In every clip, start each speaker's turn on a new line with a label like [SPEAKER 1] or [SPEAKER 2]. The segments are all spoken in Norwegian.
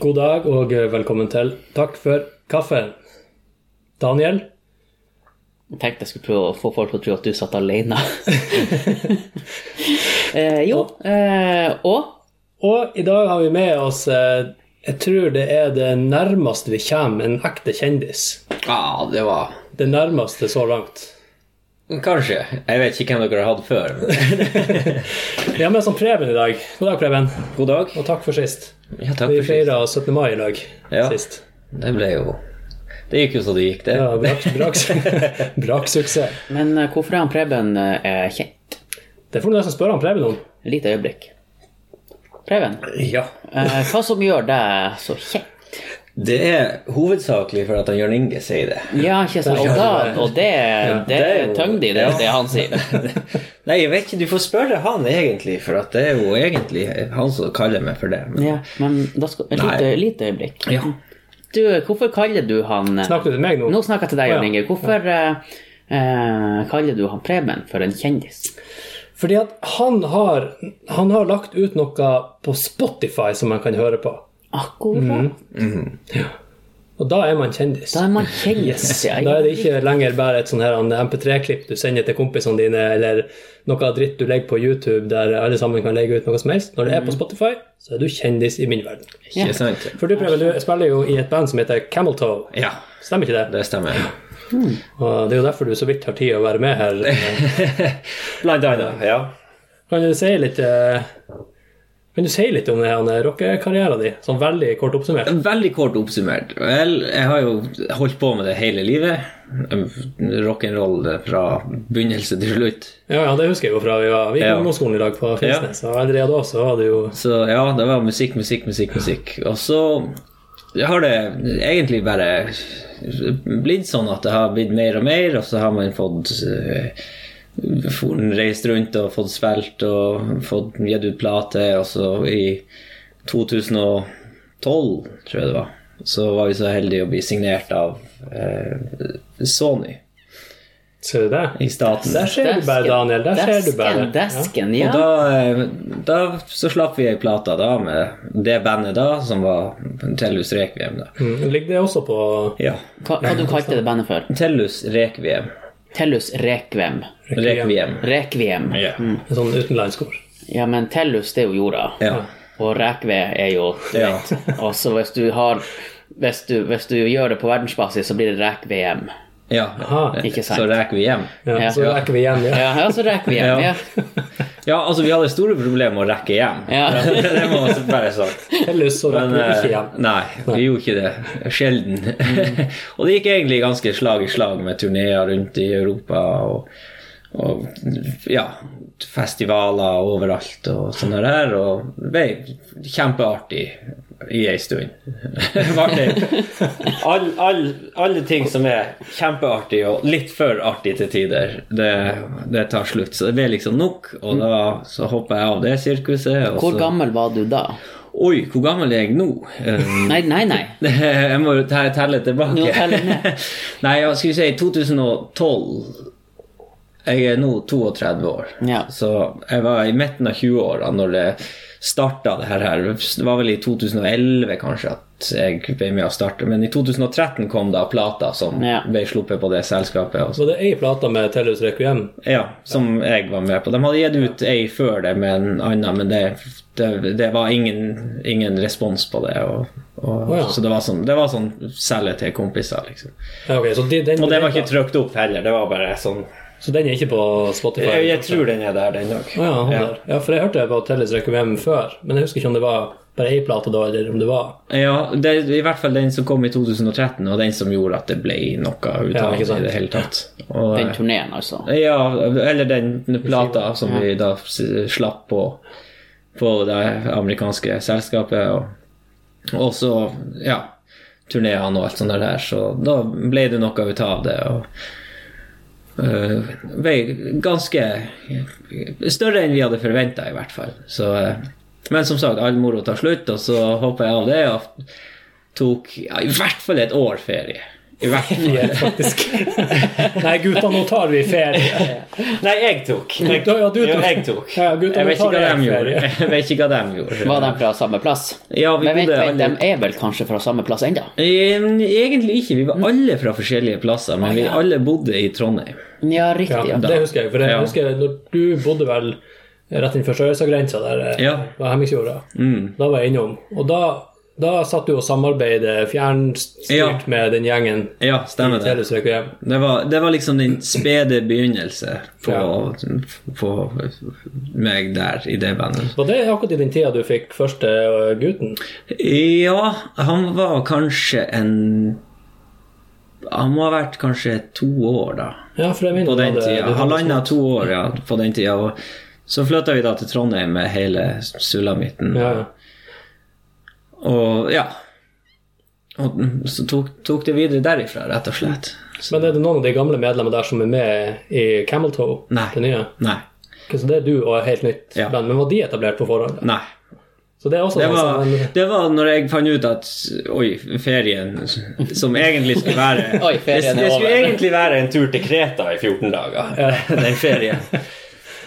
[SPEAKER 1] God dag og eh, velkommen til Takk for kaffen. Daniel,
[SPEAKER 2] Jeg tenkte jeg skulle prøve å få folk til å tro at du satt alene. eh, jo, eh, og
[SPEAKER 1] og i dag har vi med oss eh, Jeg tror det er det nærmeste vi kommer en ekte kjendis.
[SPEAKER 3] Ja, det var
[SPEAKER 1] Det nærmeste så langt.
[SPEAKER 3] Kanskje. Jeg vet ikke hvem dere har hatt før. men-
[SPEAKER 1] Vi har med oss han Preben i dag. God dag, Preben.
[SPEAKER 3] God dag.
[SPEAKER 1] Og takk for sist.
[SPEAKER 3] Ja, takk
[SPEAKER 1] Vi
[SPEAKER 3] for sist.
[SPEAKER 1] feira 17. mai i dag
[SPEAKER 3] Ja.
[SPEAKER 1] sist.
[SPEAKER 3] Det ble jo Det gikk jo så det gikk, det.
[SPEAKER 1] Ja, brak, brak, Braksuksess.
[SPEAKER 2] Men eh, hvorfor er han Preben eh, kjent?
[SPEAKER 1] Det får du nesten spørre han Preben om.
[SPEAKER 2] Et lite øyeblikk. Preben,
[SPEAKER 3] Ja.
[SPEAKER 2] eh, hva som gjør deg så kjent?
[SPEAKER 3] Det er hovedsakelig for at han Jørn Inge sier det.
[SPEAKER 2] Ja, ikke sant? Og, da, og det, det
[SPEAKER 3] det er
[SPEAKER 2] er
[SPEAKER 3] jo-
[SPEAKER 2] tyngdig, det,
[SPEAKER 3] ja.
[SPEAKER 2] det han sier.
[SPEAKER 3] Nei, jeg vet ikke, du får spørre han egentlig, for at det er jo egentlig han som kaller meg for det. Men,
[SPEAKER 2] Ja, men da skal, et lite,
[SPEAKER 3] Nei.
[SPEAKER 2] lite øyeblikk.
[SPEAKER 3] ja.
[SPEAKER 2] Du, hvorfor kaller du han eh,
[SPEAKER 1] Snakker du til meg nå?
[SPEAKER 2] Nå snakker jeg til deg,
[SPEAKER 1] Å,
[SPEAKER 2] Jørn
[SPEAKER 1] ja.
[SPEAKER 2] Inge. Hvorfor eh, eh, kaller du han Preben for en kjendis?
[SPEAKER 1] Fordi at han har, han har lagt ut noe på Spotify som man kan høre på.
[SPEAKER 2] Akkurat.
[SPEAKER 1] Og da er man kjendis.
[SPEAKER 2] Da er man kjendis.
[SPEAKER 1] Yes.
[SPEAKER 2] ja.
[SPEAKER 1] Da er det ikke lenger bare et sånn her en MP3-klipp du sender til kompisene dine, eller noe dritt du legger på YouTube der alle sammen kan legge ut noe som helst. Når det er
[SPEAKER 2] Mm.
[SPEAKER 1] på Spotify, så er du kjendis i min verden.
[SPEAKER 2] Ja.
[SPEAKER 3] Ikke sant?
[SPEAKER 1] For du Preben, du spiller jo i et band som heter Camel Toe.
[SPEAKER 3] Ja,
[SPEAKER 1] Stemmer ikke det?
[SPEAKER 3] det stemmer.
[SPEAKER 1] Og det er jo derfor du så vidt har tid å være med her.
[SPEAKER 3] Blant annet. Ja.
[SPEAKER 1] Kan du si litt eh, Kan du si litt om det her, eh, rockekarrieren din? Sånn veldig kort oppsummert.
[SPEAKER 3] Veldig kort oppsummert. Vel, jeg har jo holdt på med det hele livet. Rock'n'roll fra begynnelse til slutt.
[SPEAKER 1] Ja, ja, det husker jeg jo fra vi var vi gikk
[SPEAKER 3] Ja.
[SPEAKER 1] på ungdomsskolen i dag på Finnsnes. Og allerede da så var det jo
[SPEAKER 3] Så ja, det var musikk, musikk, musikk, musikk. Og så har det egentlig bare blitt sånn at det har blitt mer og mer, og så har man fått eh, for- reist rundt og fått spilt og fått gitt ut plate, og så i 2012, tror jeg det var, så var vi så heldige å bli signert av eh, Sony
[SPEAKER 1] Ser du det?
[SPEAKER 3] i staten.
[SPEAKER 1] Der ser du bare,
[SPEAKER 2] Desken,
[SPEAKER 1] Daniel. Der ser du bare.
[SPEAKER 2] Desken, desken, ja.
[SPEAKER 3] Og da, eh, da så slapp vi ei plate da med det bandet da, som var Tellus Rekviem. da.
[SPEAKER 1] Mm, Ligger det også på
[SPEAKER 3] Ja.
[SPEAKER 2] Hva, hva du kalte det bandet for?
[SPEAKER 3] Tellus Rekviem.
[SPEAKER 2] Tellus Rekvem.
[SPEAKER 3] Rekviem.
[SPEAKER 2] Rekviem.
[SPEAKER 3] Ja.
[SPEAKER 1] et sånn utenlandskor?
[SPEAKER 2] Ja, men Tellus, det er jo jorda.
[SPEAKER 3] ja.
[SPEAKER 2] Og Rekve er jo du
[SPEAKER 3] Ja.
[SPEAKER 2] vet. Og så hvis du har hvis du, hvis du gjør det på verdensbasis, så blir det Rekvem.
[SPEAKER 3] ja.
[SPEAKER 1] Aha.
[SPEAKER 2] Ikke sant.
[SPEAKER 3] Så Rekviem.
[SPEAKER 1] Ja,
[SPEAKER 2] Ja.
[SPEAKER 1] Så rekker vi igjen, ja.
[SPEAKER 2] Ja, ja så Rekviem, ja.
[SPEAKER 3] Ja. Ja, altså, vi hadde store problemer med å rekke hjem.
[SPEAKER 2] Ja.
[SPEAKER 3] det må man bare ha sagt.
[SPEAKER 1] Ellers så rekker
[SPEAKER 3] Men
[SPEAKER 1] vi
[SPEAKER 3] eh,
[SPEAKER 1] ikke igjen. Mm.
[SPEAKER 3] nei, vi gjorde ikke det. Sjelden. og det gikk egentlig ganske slag i slag med turneer rundt i Europa og, og ja, festivaler overalt og sånn der. Og det ble kjempeartig i ei stund. Var det- all, all, alle ting som er kjempeartig og litt for artig til tider, det, det tar slutt. Så det ble liksom nok, og da så hoppa jeg av det sirkuset. Og
[SPEAKER 2] Hvor
[SPEAKER 3] så,
[SPEAKER 2] gammel var du da?
[SPEAKER 3] Oi, hvor gammel er jeg nå? Um,
[SPEAKER 2] Nei, nei, nei.
[SPEAKER 3] jeg må jo te- telle tilbake.
[SPEAKER 2] Nå teller jeg ned.
[SPEAKER 3] Nei, jeg skulle si 2012. Jeg er nå 32 år.
[SPEAKER 2] Ja.
[SPEAKER 3] Så jeg var i midten av 20-åra når det starta det her her. Det var vel i 2011 kanskje at jeg ble med å starte, men i 2013 kom da plata som
[SPEAKER 2] Ja.
[SPEAKER 3] ble sluppet på det selskapet. Og så
[SPEAKER 1] Så det er ei plate med Tellus Requiem.
[SPEAKER 3] ja, som jeg var med på. De hadde gitt ut ei før det med en annen, men det, det, det var ingen, ingen respons på det. Og, og,
[SPEAKER 1] Å ja.
[SPEAKER 3] Så det var sånn, det var sånn selge til kompiser, liksom.
[SPEAKER 1] Ja, ok, så, de, den,
[SPEAKER 3] Og det var ikke trykt opp heller, det var bare sånn
[SPEAKER 1] så den er ikke på Spotify?
[SPEAKER 3] Jeg, jeg tror den er der, den òg.
[SPEAKER 1] Å ja, han der. ja, for jeg hørte på Tellus Requiem før, men jeg husker ikke om det var bare ei plate da, eller om det var
[SPEAKER 3] Ja, det er i hvert fall den som kom i 2013, og den som gjorde at det ble noe ut
[SPEAKER 1] Ja,
[SPEAKER 3] av
[SPEAKER 1] ikke
[SPEAKER 3] det
[SPEAKER 1] sant.
[SPEAKER 3] i det hele tatt. Og,
[SPEAKER 2] Den turneen, altså.
[SPEAKER 3] Ja, eller den plata som vi da s- slapp på på det amerikanske selskapet. Og, og så, ja, turneene og alt sånt der. Så da ble det noe ut av det. og øh, ble ganske Større enn vi hadde forventa, i hvert fall. Så, øh, men som sagt, all moro tar slutt, og så hoppa jeg av det og tok ja, i hvert fall et år ferie. I hvert fall.
[SPEAKER 1] ferie, faktisk. Nei, gutta, nå tar vi ferie.
[SPEAKER 3] Nei, jeg tok. Jeg,
[SPEAKER 1] Ja, ja, du
[SPEAKER 3] Jo,
[SPEAKER 1] tok.
[SPEAKER 3] jeg tok.
[SPEAKER 1] Ja, ja, gutta,
[SPEAKER 3] jeg vet
[SPEAKER 1] nå
[SPEAKER 3] ikke
[SPEAKER 1] tar
[SPEAKER 3] hva
[SPEAKER 1] jeg
[SPEAKER 3] de gjorde.
[SPEAKER 1] ferie.
[SPEAKER 3] Jeg vet ikke hva de gjorde.
[SPEAKER 2] Var de fra samme plass?
[SPEAKER 3] Ja, vi
[SPEAKER 2] Men vent,
[SPEAKER 3] bodde
[SPEAKER 2] vent,
[SPEAKER 3] alle...
[SPEAKER 2] de er vel kanskje fra samme plass ennå?
[SPEAKER 3] Em, Egentlig ikke. Vi var alle fra forskjellige plasser, men vi alle bodde i Trondheim.
[SPEAKER 2] Ja, riktig.
[SPEAKER 1] Ja,
[SPEAKER 2] Ja.
[SPEAKER 1] det husker jeg. For jeg
[SPEAKER 3] Ja.
[SPEAKER 1] husker jeg, når du bodde vel rett innenfor Sørøysagrensa, der eh,
[SPEAKER 3] Ja. Mm.
[SPEAKER 1] var Hemmingsfjorda, da var jeg innom. Og da, da satt du og samarbeidet fjernstyrt
[SPEAKER 3] Ja.
[SPEAKER 1] med den gjengen.
[SPEAKER 3] Ja, stemmer det.
[SPEAKER 1] Telus Requiem.
[SPEAKER 3] Det var, det var liksom den spede begynnelse på,
[SPEAKER 1] Ja.
[SPEAKER 3] på meg der i det bandet.
[SPEAKER 1] Var det akkurat i den tida du fikk første eh, gutten?
[SPEAKER 3] Ja, han var kanskje en Han må ha vært kanskje to år, da.
[SPEAKER 1] Ja, for jeg minner
[SPEAKER 3] På
[SPEAKER 1] du
[SPEAKER 3] den
[SPEAKER 1] hadde- du
[SPEAKER 3] tida.
[SPEAKER 1] hadde
[SPEAKER 3] Halvannet to år, ja. På den tida. Og så flytta vi da til Trondheim med hele
[SPEAKER 1] små-
[SPEAKER 3] sulamitten.
[SPEAKER 1] Ja, ja.
[SPEAKER 3] Og ja. Og så tok, tok det videre derifra, rett og slett.
[SPEAKER 1] Men er det noen av de gamle medlemmene der som er med i Camel Toe?
[SPEAKER 3] Nei.
[SPEAKER 1] Det nye?
[SPEAKER 3] Nei.
[SPEAKER 1] Ok, så det er du og helt nytt
[SPEAKER 3] Ja.
[SPEAKER 1] band, men var de etablert på forhånd?
[SPEAKER 3] Nei.
[SPEAKER 1] Så det er også
[SPEAKER 3] Det
[SPEAKER 1] sånn
[SPEAKER 3] var,
[SPEAKER 1] som en-
[SPEAKER 3] det var når jeg fant ut at Oi, ferien som egentlig skulle være
[SPEAKER 2] Oi, ferien er
[SPEAKER 3] det, det skulle
[SPEAKER 2] over.
[SPEAKER 3] egentlig være en tur til Kreta i 14 dager, den ferien.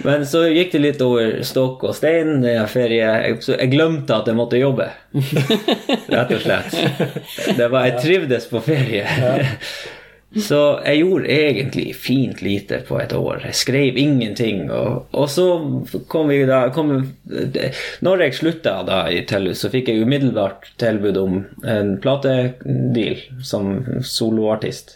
[SPEAKER 3] Men så gikk det litt over stokk og stein. Det er ferie. Jeg- Så jeg glemte at jeg måtte jobbe, rett og slett. Det var, jeg trivdes på ferie. Så jeg gjorde egentlig fint lite på et år. Jeg skrev ingenting. Og, og så kom vi da kom, Når jeg slutta da i Tellus, så fikk jeg umiddelbart tilbud om en platedeal som soloartist.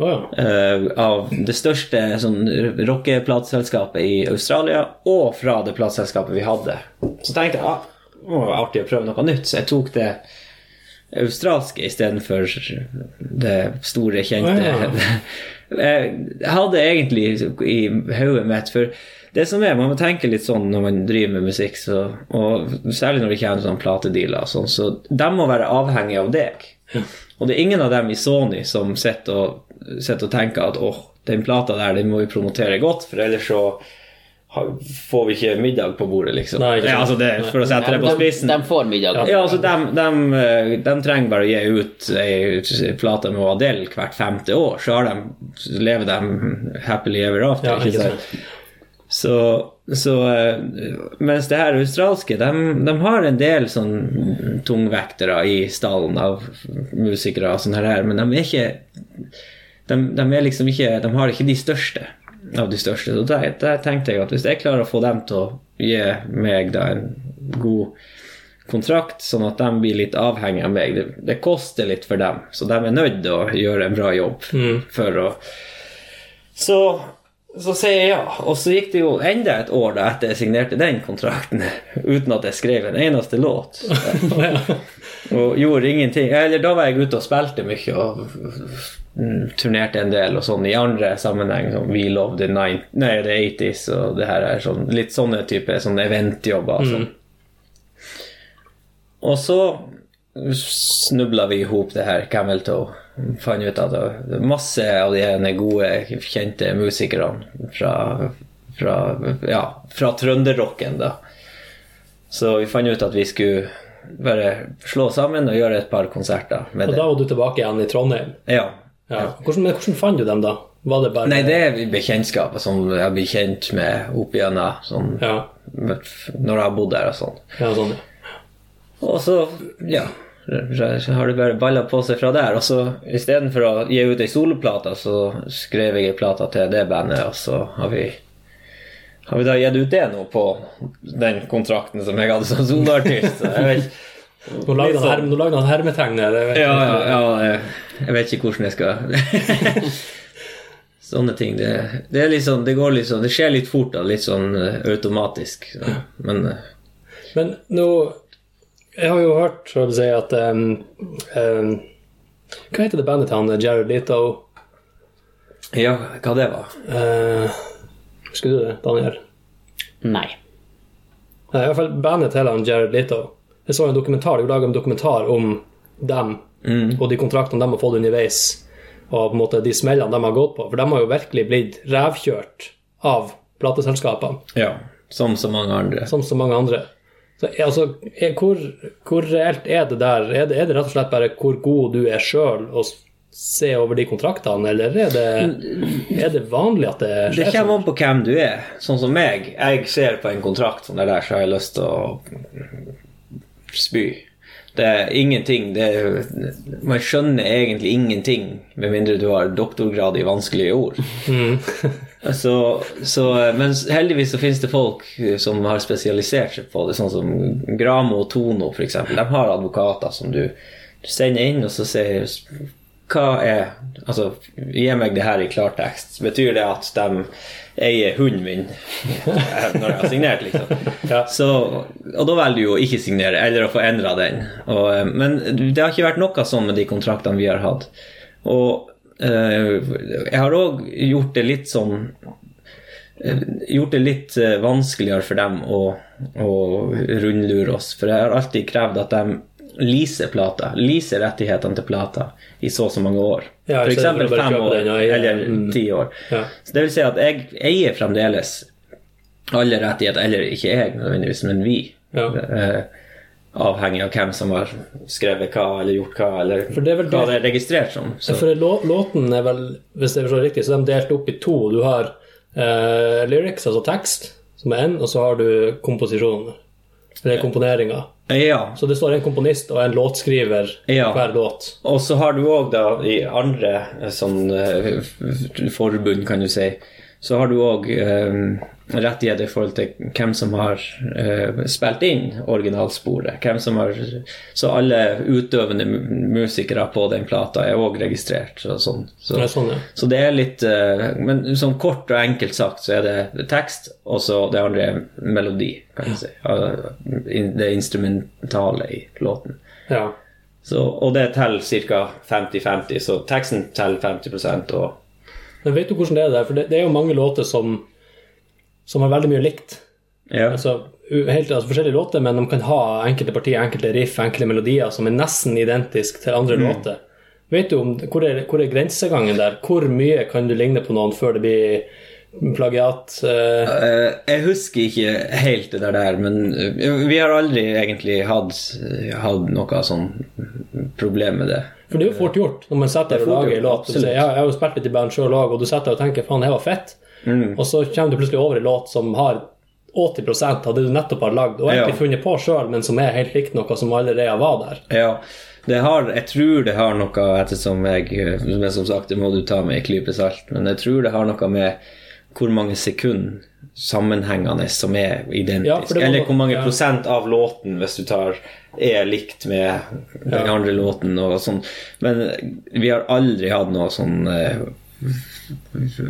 [SPEAKER 1] Å, ja.
[SPEAKER 3] Eh, av det største sånn, rockeplateselskapet i Australia, og fra det plateselskapet vi hadde. Så tenkte jeg ah, det må være artig å prøve noe nytt, så jeg tok det australske istedenfor det store, kjente.
[SPEAKER 1] Ah,
[SPEAKER 3] jeg hadde egentlig i hodet mitt For det som er, man må tenke litt sånn når man driver med musikk, så, og særlig når det kommer sånn platedealer, og sånn, så de må være avhengige av deg. Og det er ingen av dem i Sony som sitter og, sitter og tenker at åh, den plata der den må vi promotere godt, for ellers så har- får vi ikke middag på bordet, liksom.
[SPEAKER 1] Nei, ikke sant.
[SPEAKER 3] ja, altså det, for å sette det på
[SPEAKER 2] de,
[SPEAKER 3] spissen.
[SPEAKER 2] de får middag.
[SPEAKER 3] Ja, altså, de, trenger bare å gi ut ei plate med Adele hvert femte år, så har dem- så lever de happily ever after.
[SPEAKER 1] Ja,
[SPEAKER 3] ikke
[SPEAKER 1] ikke
[SPEAKER 3] sant? Så, så eh, Mens det her australske, de, de har en del sånn tungvektere i stallen av musikere og sånn her, men de er ikke de, de er liksom ikke De har ikke de største av de største. Så der, der tenkte jeg at hvis jeg klarer å få dem til å gi meg da en god kontrakt, sånn at de blir litt avhengig av meg. Det, det koster litt for dem, så de er nødt til å gjøre en bra jobb for å Så, så sier jeg ja. Og så gikk det jo enda et år da etter jeg signerte den kontrakten, uten at jeg skrev en eneste låt. og gjorde ingenting. Eller da var jeg ute og spilte mye og mm, turnerte en del og sånn i andre sammenheng, som We Love the, 90, nei, the 80s og det her er sånn, litt sånne type sånne eventjobber. og Sånn. Og så snubla vi i hop det her Camel Toe. Fant ut at det var masse av de ene gode, kjente musikerne fra, fra, ja, fra trønderrocken, da. Så vi fant ut at vi skulle bare slå sammen og gjøre et par konserter med
[SPEAKER 1] Og
[SPEAKER 3] det.
[SPEAKER 1] da var du tilbake igjen i Trondheim.
[SPEAKER 3] Ja.
[SPEAKER 1] Ja. Hvordan, men hvordan fant du dem, da? Var det bare
[SPEAKER 3] Nei, det er bekjentskaper som jeg blir kjent med opp igjennom sånn,
[SPEAKER 1] Ja,
[SPEAKER 3] når jeg har bodd der og sånn.
[SPEAKER 1] ja sånn.
[SPEAKER 3] Og så, ja så har det bare balla på seg fra der. Og så istedenfor å gi ut ei soloplate, så skrev jeg ei plate til det bandet, og så har vi har vi da gitt ut det nå på den kontrakten som jeg hadde som soloartist? Så Jeg vet ikke sånn.
[SPEAKER 1] Nå lagde han, herm, nå lagde han hermetegn her. det vet jeg.
[SPEAKER 3] ja, ja, ja, jeg- jeg vet ikke hvordan jeg skal Sånne ting. Det, det er litt sånn, det går litt sånn, det skjer litt fort da, litt sånn eh, automatisk. Så. Men eh,
[SPEAKER 1] Men nå Jeg har jo hørt så å si at em, em, Hva heter det bandet til han Jared Leto?
[SPEAKER 3] ja, hva det var?
[SPEAKER 1] Eh, husker du det, Daniel?
[SPEAKER 2] Nei.
[SPEAKER 1] Nei, i hvert fall bandet til han Jared Leto. Jeg så en dokumentar, det er jo laget en dokumentar om dem
[SPEAKER 3] Mm.
[SPEAKER 1] og de kontraktene de har fått underveis, og på en måte de smellene de har gått på. For de har jo virkelig blitt revkjørt av plateselskapene,
[SPEAKER 3] Ja, som så mange andre.
[SPEAKER 1] som så mange andre. Så eh, altså, eh, hvor, hvor reelt er det der? Er det, er det rett og slett bare hvor god du er sjøl, og s- se over de kontraktene, eller er det, er det vanlig at det skjer?
[SPEAKER 3] Det
[SPEAKER 1] sånn?
[SPEAKER 3] kommer an på hvem du er. Sånn som meg. Jeg ser på en kontrakt som det der, så har jeg lyst til å spy. Det er ingenting det er, Man skjønner egentlig ingenting med mindre du har doktorgrad i vanskelige ord. så, så, eh, men heldigvis så finnes det folk eh, som har spesialisert seg på det, sånn som Gramo og Tono f.eks. De har advokater som du, du sender inn, og så sier hva er Altså, gi meg det her i klartekst. Betyr det at de eier hunden min når jeg har signert, liksom?
[SPEAKER 1] Ja.
[SPEAKER 3] Så, og da velger du jo å ikke signere, eller å få endra den. Og, eh, men det har ikke vært noe sånn med de kontraktene vi har hatt. Og eh, jeg har òg gjort det litt sånn eh, Gjort det litt eh, vanskeligere for dem å, å rundlure oss. For jeg har alltid krevd at de leaser plater. Leaser rettighetene til plater i så og så mange år.
[SPEAKER 1] Ja,
[SPEAKER 3] for
[SPEAKER 1] i mm. stedet for
[SPEAKER 3] eksempel
[SPEAKER 1] å bare
[SPEAKER 3] fem
[SPEAKER 1] kjøpe
[SPEAKER 3] år,
[SPEAKER 1] den og eie
[SPEAKER 3] eller
[SPEAKER 1] den.
[SPEAKER 3] ti år.
[SPEAKER 1] Ja.
[SPEAKER 3] Så det vil si at jeg eier fremdeles alle rettigheter, eller ikke jeg nødvendigvis, men vi.
[SPEAKER 1] sånn? Ja.
[SPEAKER 3] Eh, avhengig av hvem som har skrevet hva, eller gjort hva, eller
[SPEAKER 1] For det er vel
[SPEAKER 3] hva
[SPEAKER 1] det-
[SPEAKER 3] det er registrert som. Så.
[SPEAKER 1] For lå- låten er vel, hvis jeg forstår riktig, så er de delt opp i to. Du har eh, lyrics, altså tekst, som er én, og så har du komposisjonen. Eller komponeringa.
[SPEAKER 3] Ja.
[SPEAKER 1] Så det står en komponist og en låtskriver
[SPEAKER 3] Ja.
[SPEAKER 1] hver låt.
[SPEAKER 3] Og så har du òg, da, i andre eh, sånn eh, f- f- forbund, kan du si, så har du òg eh, rettigheter i forhold til hvem som har eh, spilt inn originalsporet. Hvem som har Så alle utøvende mu- musikere på den plata er òg registrert. Så, sånn. så,
[SPEAKER 1] Ja, sånn, ja.
[SPEAKER 3] så det er litt eh, Men sånn kort og enkelt sagt så er det tekst, og så det andre er melodi, kan du si. Ja, in- Det instrumentale i låten.
[SPEAKER 1] Ja.
[SPEAKER 3] Så, og det teller ca. 50-50, så teksten teller 50 og
[SPEAKER 1] Men vet du hvordan det er der? For det, det er jo mange låter som, som har veldig mye likt.
[SPEAKER 3] ja.
[SPEAKER 1] altså, u- helt, altså forskjellige låter, men de kan ha enkelte partier, enkelte riff, enkelte melodier som er nesten identisk til andre låter. Vet du om, hvor er, hvor er grensegangen der? Hvor mye kan du ligne på noen før det blir plagiat? eh,
[SPEAKER 3] Eh, Jeg husker ikke helt det der der, men eh, vi har aldri egentlig hatt, hatt noe sånn problem med det.
[SPEAKER 1] For det er jo fort gjort når man setter
[SPEAKER 3] Eh,
[SPEAKER 1] deg
[SPEAKER 3] Det er
[SPEAKER 1] og
[SPEAKER 3] fort
[SPEAKER 1] lager en
[SPEAKER 3] gjort,
[SPEAKER 1] låt. og sier,
[SPEAKER 3] absolutt.
[SPEAKER 1] ja, jeg har jo spilt litt i band sjøl òg, og du setter deg og tenker 'faen, det her var fett',
[SPEAKER 3] Mm.
[SPEAKER 1] og så kommer du plutselig over en låt som har 80 av det du nettopp har lagd, og egentlig
[SPEAKER 3] Ja.
[SPEAKER 1] funnet på sjøl, men som er helt likt noe som allerede var der.
[SPEAKER 3] Ja, det har, jeg tror det har noe ettersom jeg Men som sagt, det må du ta med en klype salt. Men jeg tror det har noe med hvor mange sekunder sammenhengende som er identisk.
[SPEAKER 1] Ja, for det var
[SPEAKER 3] Eller
[SPEAKER 1] noe-
[SPEAKER 3] hvor mange
[SPEAKER 1] ja.
[SPEAKER 3] prosent av låten, hvis du tar er likt med den
[SPEAKER 1] Ja.
[SPEAKER 3] andre låten og sånn. Men vi har aldri hatt noe sånn eh,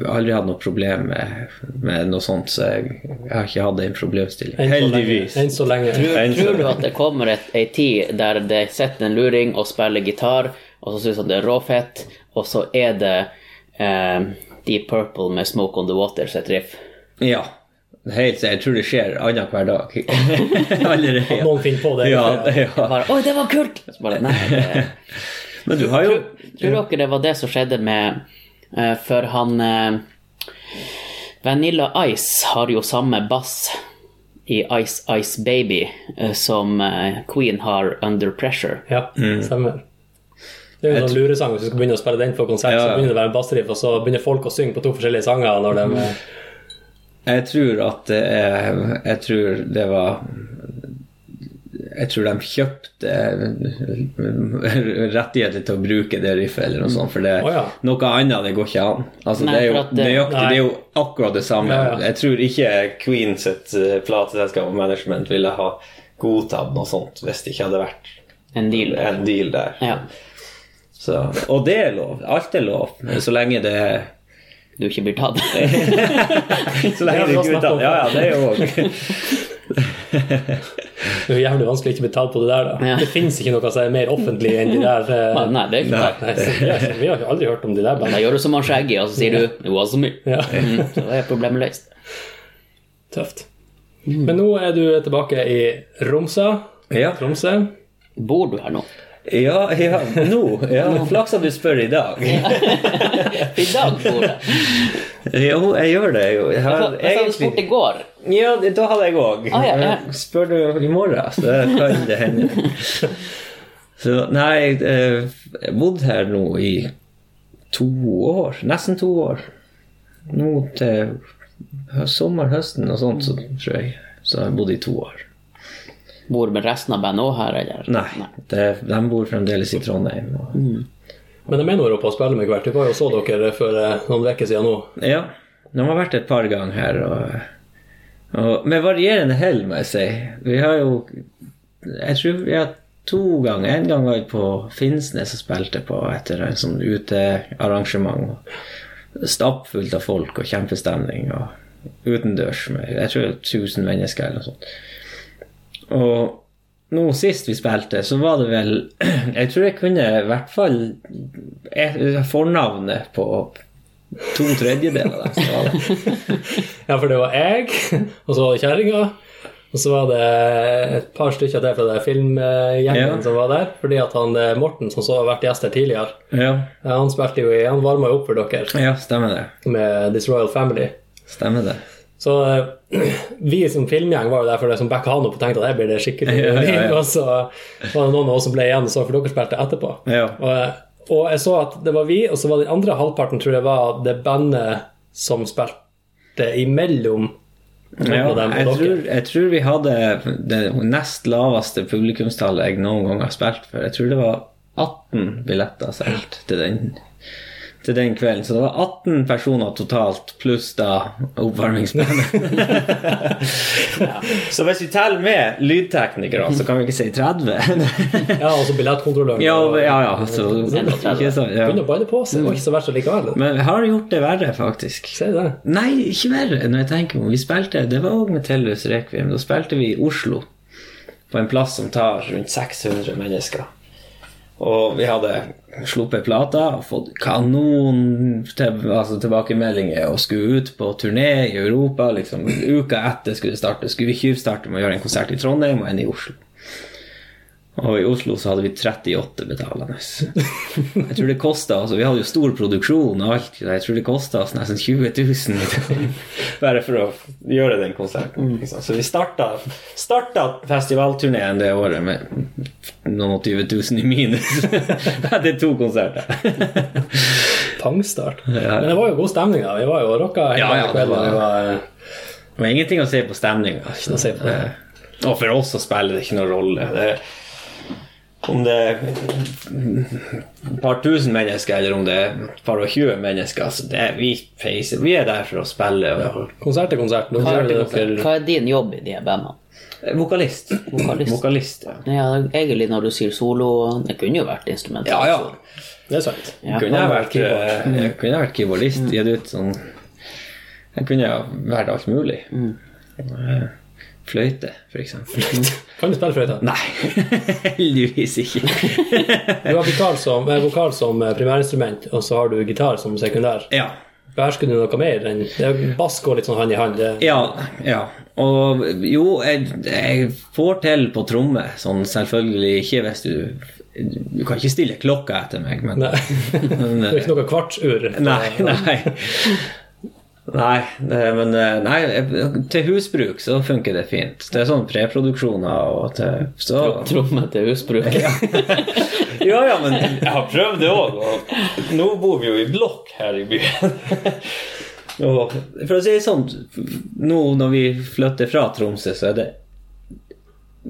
[SPEAKER 3] Aldri hatt noe problem med, med noe sånt, så jeg, jeg har ikke hatt den problemstillingen.
[SPEAKER 1] Enn så lenge-
[SPEAKER 3] Heldigvis. sånn-
[SPEAKER 1] Enn så lenge.
[SPEAKER 3] Enn så
[SPEAKER 2] Tror du
[SPEAKER 3] lenge.
[SPEAKER 2] at det kommer et, ei tid der det sitter en luring og spiller gitar, og så syns han det er råfett, og så er det eh, Deep Purple med Smoke On The Water sitt riff?
[SPEAKER 3] Ja. Helt sikkert. Jeg tror det skjer annenhver dag. Allerede.
[SPEAKER 1] At noen finner på det.
[SPEAKER 3] Ja, ja.
[SPEAKER 2] Bare 'Oi, det var kult!' Så bare, nei, det...
[SPEAKER 3] Men du har jo
[SPEAKER 2] Tror, tror dere det var det som skjedde med eh, For han eh, Vanilla Ice har jo samme bass i Ice Ice Baby eh, som eh, Queen har Under Pressure.
[SPEAKER 1] Ja,
[SPEAKER 3] Mm.
[SPEAKER 1] stemmer. Det er jo en sånn luresang hvis du skal begynne å spille den på konsert,
[SPEAKER 3] Ja, ja.
[SPEAKER 1] så begynner det å være en bassriff, og så begynner folk å synge på to forskjellige sanger når de
[SPEAKER 3] Mm. Jeg tror at det er Jeg tror det var Jeg tror de kjøpte eh, rettigheter til å bruke det riffet eller noe sånt, for det,
[SPEAKER 1] Å, ja.
[SPEAKER 3] noe annet det går ikke an. Altså,
[SPEAKER 2] Nei,
[SPEAKER 3] det, er jo,
[SPEAKER 2] for at det-
[SPEAKER 3] nøyaktig, det er jo akkurat det samme.
[SPEAKER 1] Ja, ja.
[SPEAKER 3] Jeg tror ikke Queen sitt eh, plateselskap og management ville ha godtatt noe sånt hvis det ikke hadde vært
[SPEAKER 2] En deal.
[SPEAKER 3] en deal der.
[SPEAKER 2] Ja,
[SPEAKER 3] Så, og det er lov. Alt er lov. Så lenge det
[SPEAKER 2] du ikke blir tatt.
[SPEAKER 3] Så
[SPEAKER 1] Det
[SPEAKER 3] lenge det
[SPEAKER 1] har vi
[SPEAKER 3] ikke
[SPEAKER 1] også snakket om.
[SPEAKER 3] Ja, ja, det er jo
[SPEAKER 1] Det er jo jævlig vanskelig å ikke bli tatt på det der, da.
[SPEAKER 2] Ja.
[SPEAKER 1] Det fins ikke noe som er mer offentlig enn de der eh,
[SPEAKER 2] Nei, det er ikke tatt.
[SPEAKER 1] Nei, så vi har- vi har aldri hørt om de der
[SPEAKER 2] Da
[SPEAKER 1] bandene.
[SPEAKER 2] gjør du som han Shaggy, og så sier du 'It wasn't me'.
[SPEAKER 1] Ja,
[SPEAKER 2] Mm, så er problemet løst.
[SPEAKER 1] tøft.
[SPEAKER 3] Mm.
[SPEAKER 1] Men nå er du tilbake i Romsa.
[SPEAKER 3] Ja,
[SPEAKER 1] Tromsø.
[SPEAKER 2] Bor du her nå?
[SPEAKER 3] ja, ja. nå. Ja. Flaks at du spør i dag.
[SPEAKER 2] I dag bor jeg.
[SPEAKER 3] Jo, jeg gjør det. Jo. Jeg
[SPEAKER 2] Jeg
[SPEAKER 3] har
[SPEAKER 2] hadde du spurt i
[SPEAKER 3] egentlig
[SPEAKER 2] går.
[SPEAKER 3] Ja, det- da hadde jeg òg.
[SPEAKER 2] Ah, ja, ja.
[SPEAKER 3] Spør du i morgen, så kan det hende. Så nei, eh, jeg har bodd her nå i to år, nesten to år. Nå til hø- sommeren, høsten og sånt, så tror jeg. Så jeg bodde i to år.
[SPEAKER 2] Bor med resten av bandet òg her, eller?
[SPEAKER 3] Nei, det, de bor fremdeles i Trondheim. Og,
[SPEAKER 1] Men de er nå oppe og spiller med hvert. Vi var jo og så dere for eh, noen uker siden nå.
[SPEAKER 3] Ja, de har vært et par ganger her. Og, og, med varierende hell, må jeg si. Vi har jo Jeg tror vi har to ganger. En gang var jeg på Finnsnes og spilte på et eller annet sånn utearrangement. og Stappfullt av folk og kjempestemning. og Utendørs med jeg tror 1000 mennesker eller noe sånt. Og nå sist vi spilte, så var det vel Jeg tror jeg kunne i hvert fall jeg- fornavnet på to tredjedeler av dem som var der.
[SPEAKER 1] Ja, for det var jeg, og så var det kjerringa. Og så var det et par stykker til fra det filmgjengen
[SPEAKER 3] Ja.
[SPEAKER 1] som var der. Fordi at han eh, Morten, som så har vært gjest her tidligere,
[SPEAKER 3] Ja.
[SPEAKER 1] eh, han spilte jo i Han varma jo opp for dere
[SPEAKER 3] ja, stemmer det.
[SPEAKER 1] med This Royal Family.
[SPEAKER 3] Stemmer det.
[SPEAKER 1] Så eh, vi som filmgjeng var jo der for det som backa han opp og tenkte at her blir det skikkelig
[SPEAKER 3] Ja, ja, ja.
[SPEAKER 1] Og så var det noen av oss som ble igjen og så, for dere spilte etterpå.
[SPEAKER 3] Ja.
[SPEAKER 1] Og, eh, og jeg så at det var vi, og så var den andre halvparten, tror jeg, var det bandet som spilte imellom.
[SPEAKER 3] Ja,
[SPEAKER 1] og dem og
[SPEAKER 3] jeg,
[SPEAKER 1] dere.
[SPEAKER 3] tror, jeg tror vi hadde det nest laveste publikumstallet jeg noen gang har spilt for. Jeg tror det var 18 billetter solgt til den, til den kvelden. Så det var 18 personer totalt, pluss da oppvarmingsbandet. Så hvis vi teller med lydteknikere, så kan vi ikke si 30.
[SPEAKER 1] Ja, altså billettkontrolløren.
[SPEAKER 3] ja, ja, ja. Så, ikke sant, ja.
[SPEAKER 1] Begynner å balle på seg, det var ikke så verst likevel.
[SPEAKER 3] Men vi har gjort det verre, faktisk.
[SPEAKER 1] Si det.
[SPEAKER 3] Nei, ikke verre når jeg tenker om Vi spilte, det var også med Tellus Requiem Da spilte vi i Oslo På en plass som tar rundt 600 mennesker Og vi hadde sluppet plata Og fått kanon til, altså tilbakemeldinger Og skulle ut på turné i Europa liksom, Uka etter skulle det starte Skulle vi tjuvstarte med å gjøre en konsert i Trondheim Og en i Oslo og i Oslo så hadde vi 38 betalende. Jeg tror det kostet, altså, Vi hadde jo stor produksjon og alt. Jeg tror det kosta oss nesten 20 000 bare for å gjøre den konserten. Liksom. Så vi starta, starta festivalturneen det året med noen og 20 000 i minus. Etter to konserter.
[SPEAKER 1] Pangstart.
[SPEAKER 3] ja.
[SPEAKER 1] Men det var jo god stemning, da. Vi var jo og rocka hele
[SPEAKER 3] Ja, ja, det
[SPEAKER 1] kvelden.
[SPEAKER 3] var-
[SPEAKER 1] Vi var, eh,
[SPEAKER 3] Det var ingenting å si på stemninga.
[SPEAKER 1] noe å si på det.
[SPEAKER 3] Og for oss så spiller det ikke noen rolle. Det, om det er et par tusen mennesker, eller om det er et par og tjue mennesker, så det, er- vi feiser. Vi er der for å spille. Og,
[SPEAKER 1] Konsert til konsert. Nå gjør
[SPEAKER 3] til
[SPEAKER 1] dere
[SPEAKER 2] Hva er din jobb i de bandene?
[SPEAKER 3] Eh, Vokalist.
[SPEAKER 2] Vokalist.
[SPEAKER 3] ja.
[SPEAKER 2] Ja, egentlig når du sier solo Det kunne jo vært instrument.
[SPEAKER 3] Ja, ja.
[SPEAKER 1] Det er sant.
[SPEAKER 2] Ja.
[SPEAKER 3] kunne jeg, vært,
[SPEAKER 1] keyboard. Mm.
[SPEAKER 3] eh, jeg kunne vært keyboardist. Gitt ut sånn Jeg kunne ha vært alt mulig.
[SPEAKER 1] Mm.
[SPEAKER 3] Eh, Fløyte, for eksempel.
[SPEAKER 1] Kan du spille fløyte?
[SPEAKER 3] Nei, heldigvis ikke.
[SPEAKER 1] Du har gitar som, eh, vokal som eh, primærinstrument, og så har du gitar som sekundær.
[SPEAKER 3] Ja.
[SPEAKER 1] Behersker du noe mer enn det er- Bass går litt sånn hand i hand. Det,
[SPEAKER 3] Ja, ja. Og jo, jeg, jeg får til på tromme, sånn selvfølgelig ikke hvis du Du kan ikke stille klokka etter meg, men
[SPEAKER 1] Nei.
[SPEAKER 3] men, eh,
[SPEAKER 1] det er ikke noe kvartsur.
[SPEAKER 3] Nei, nei. Nei, det, men eh, nei, jeg- til husbruk så funker det fint. Det er sånn preproduksjoner og til så,
[SPEAKER 2] Tromme til husbruk.
[SPEAKER 3] Ja, ja, men jeg har prøvd det òg, og nå bor vi jo i blokk her i byen. og for å si det sånn, nå når vi flytter fra Tromsø, så er det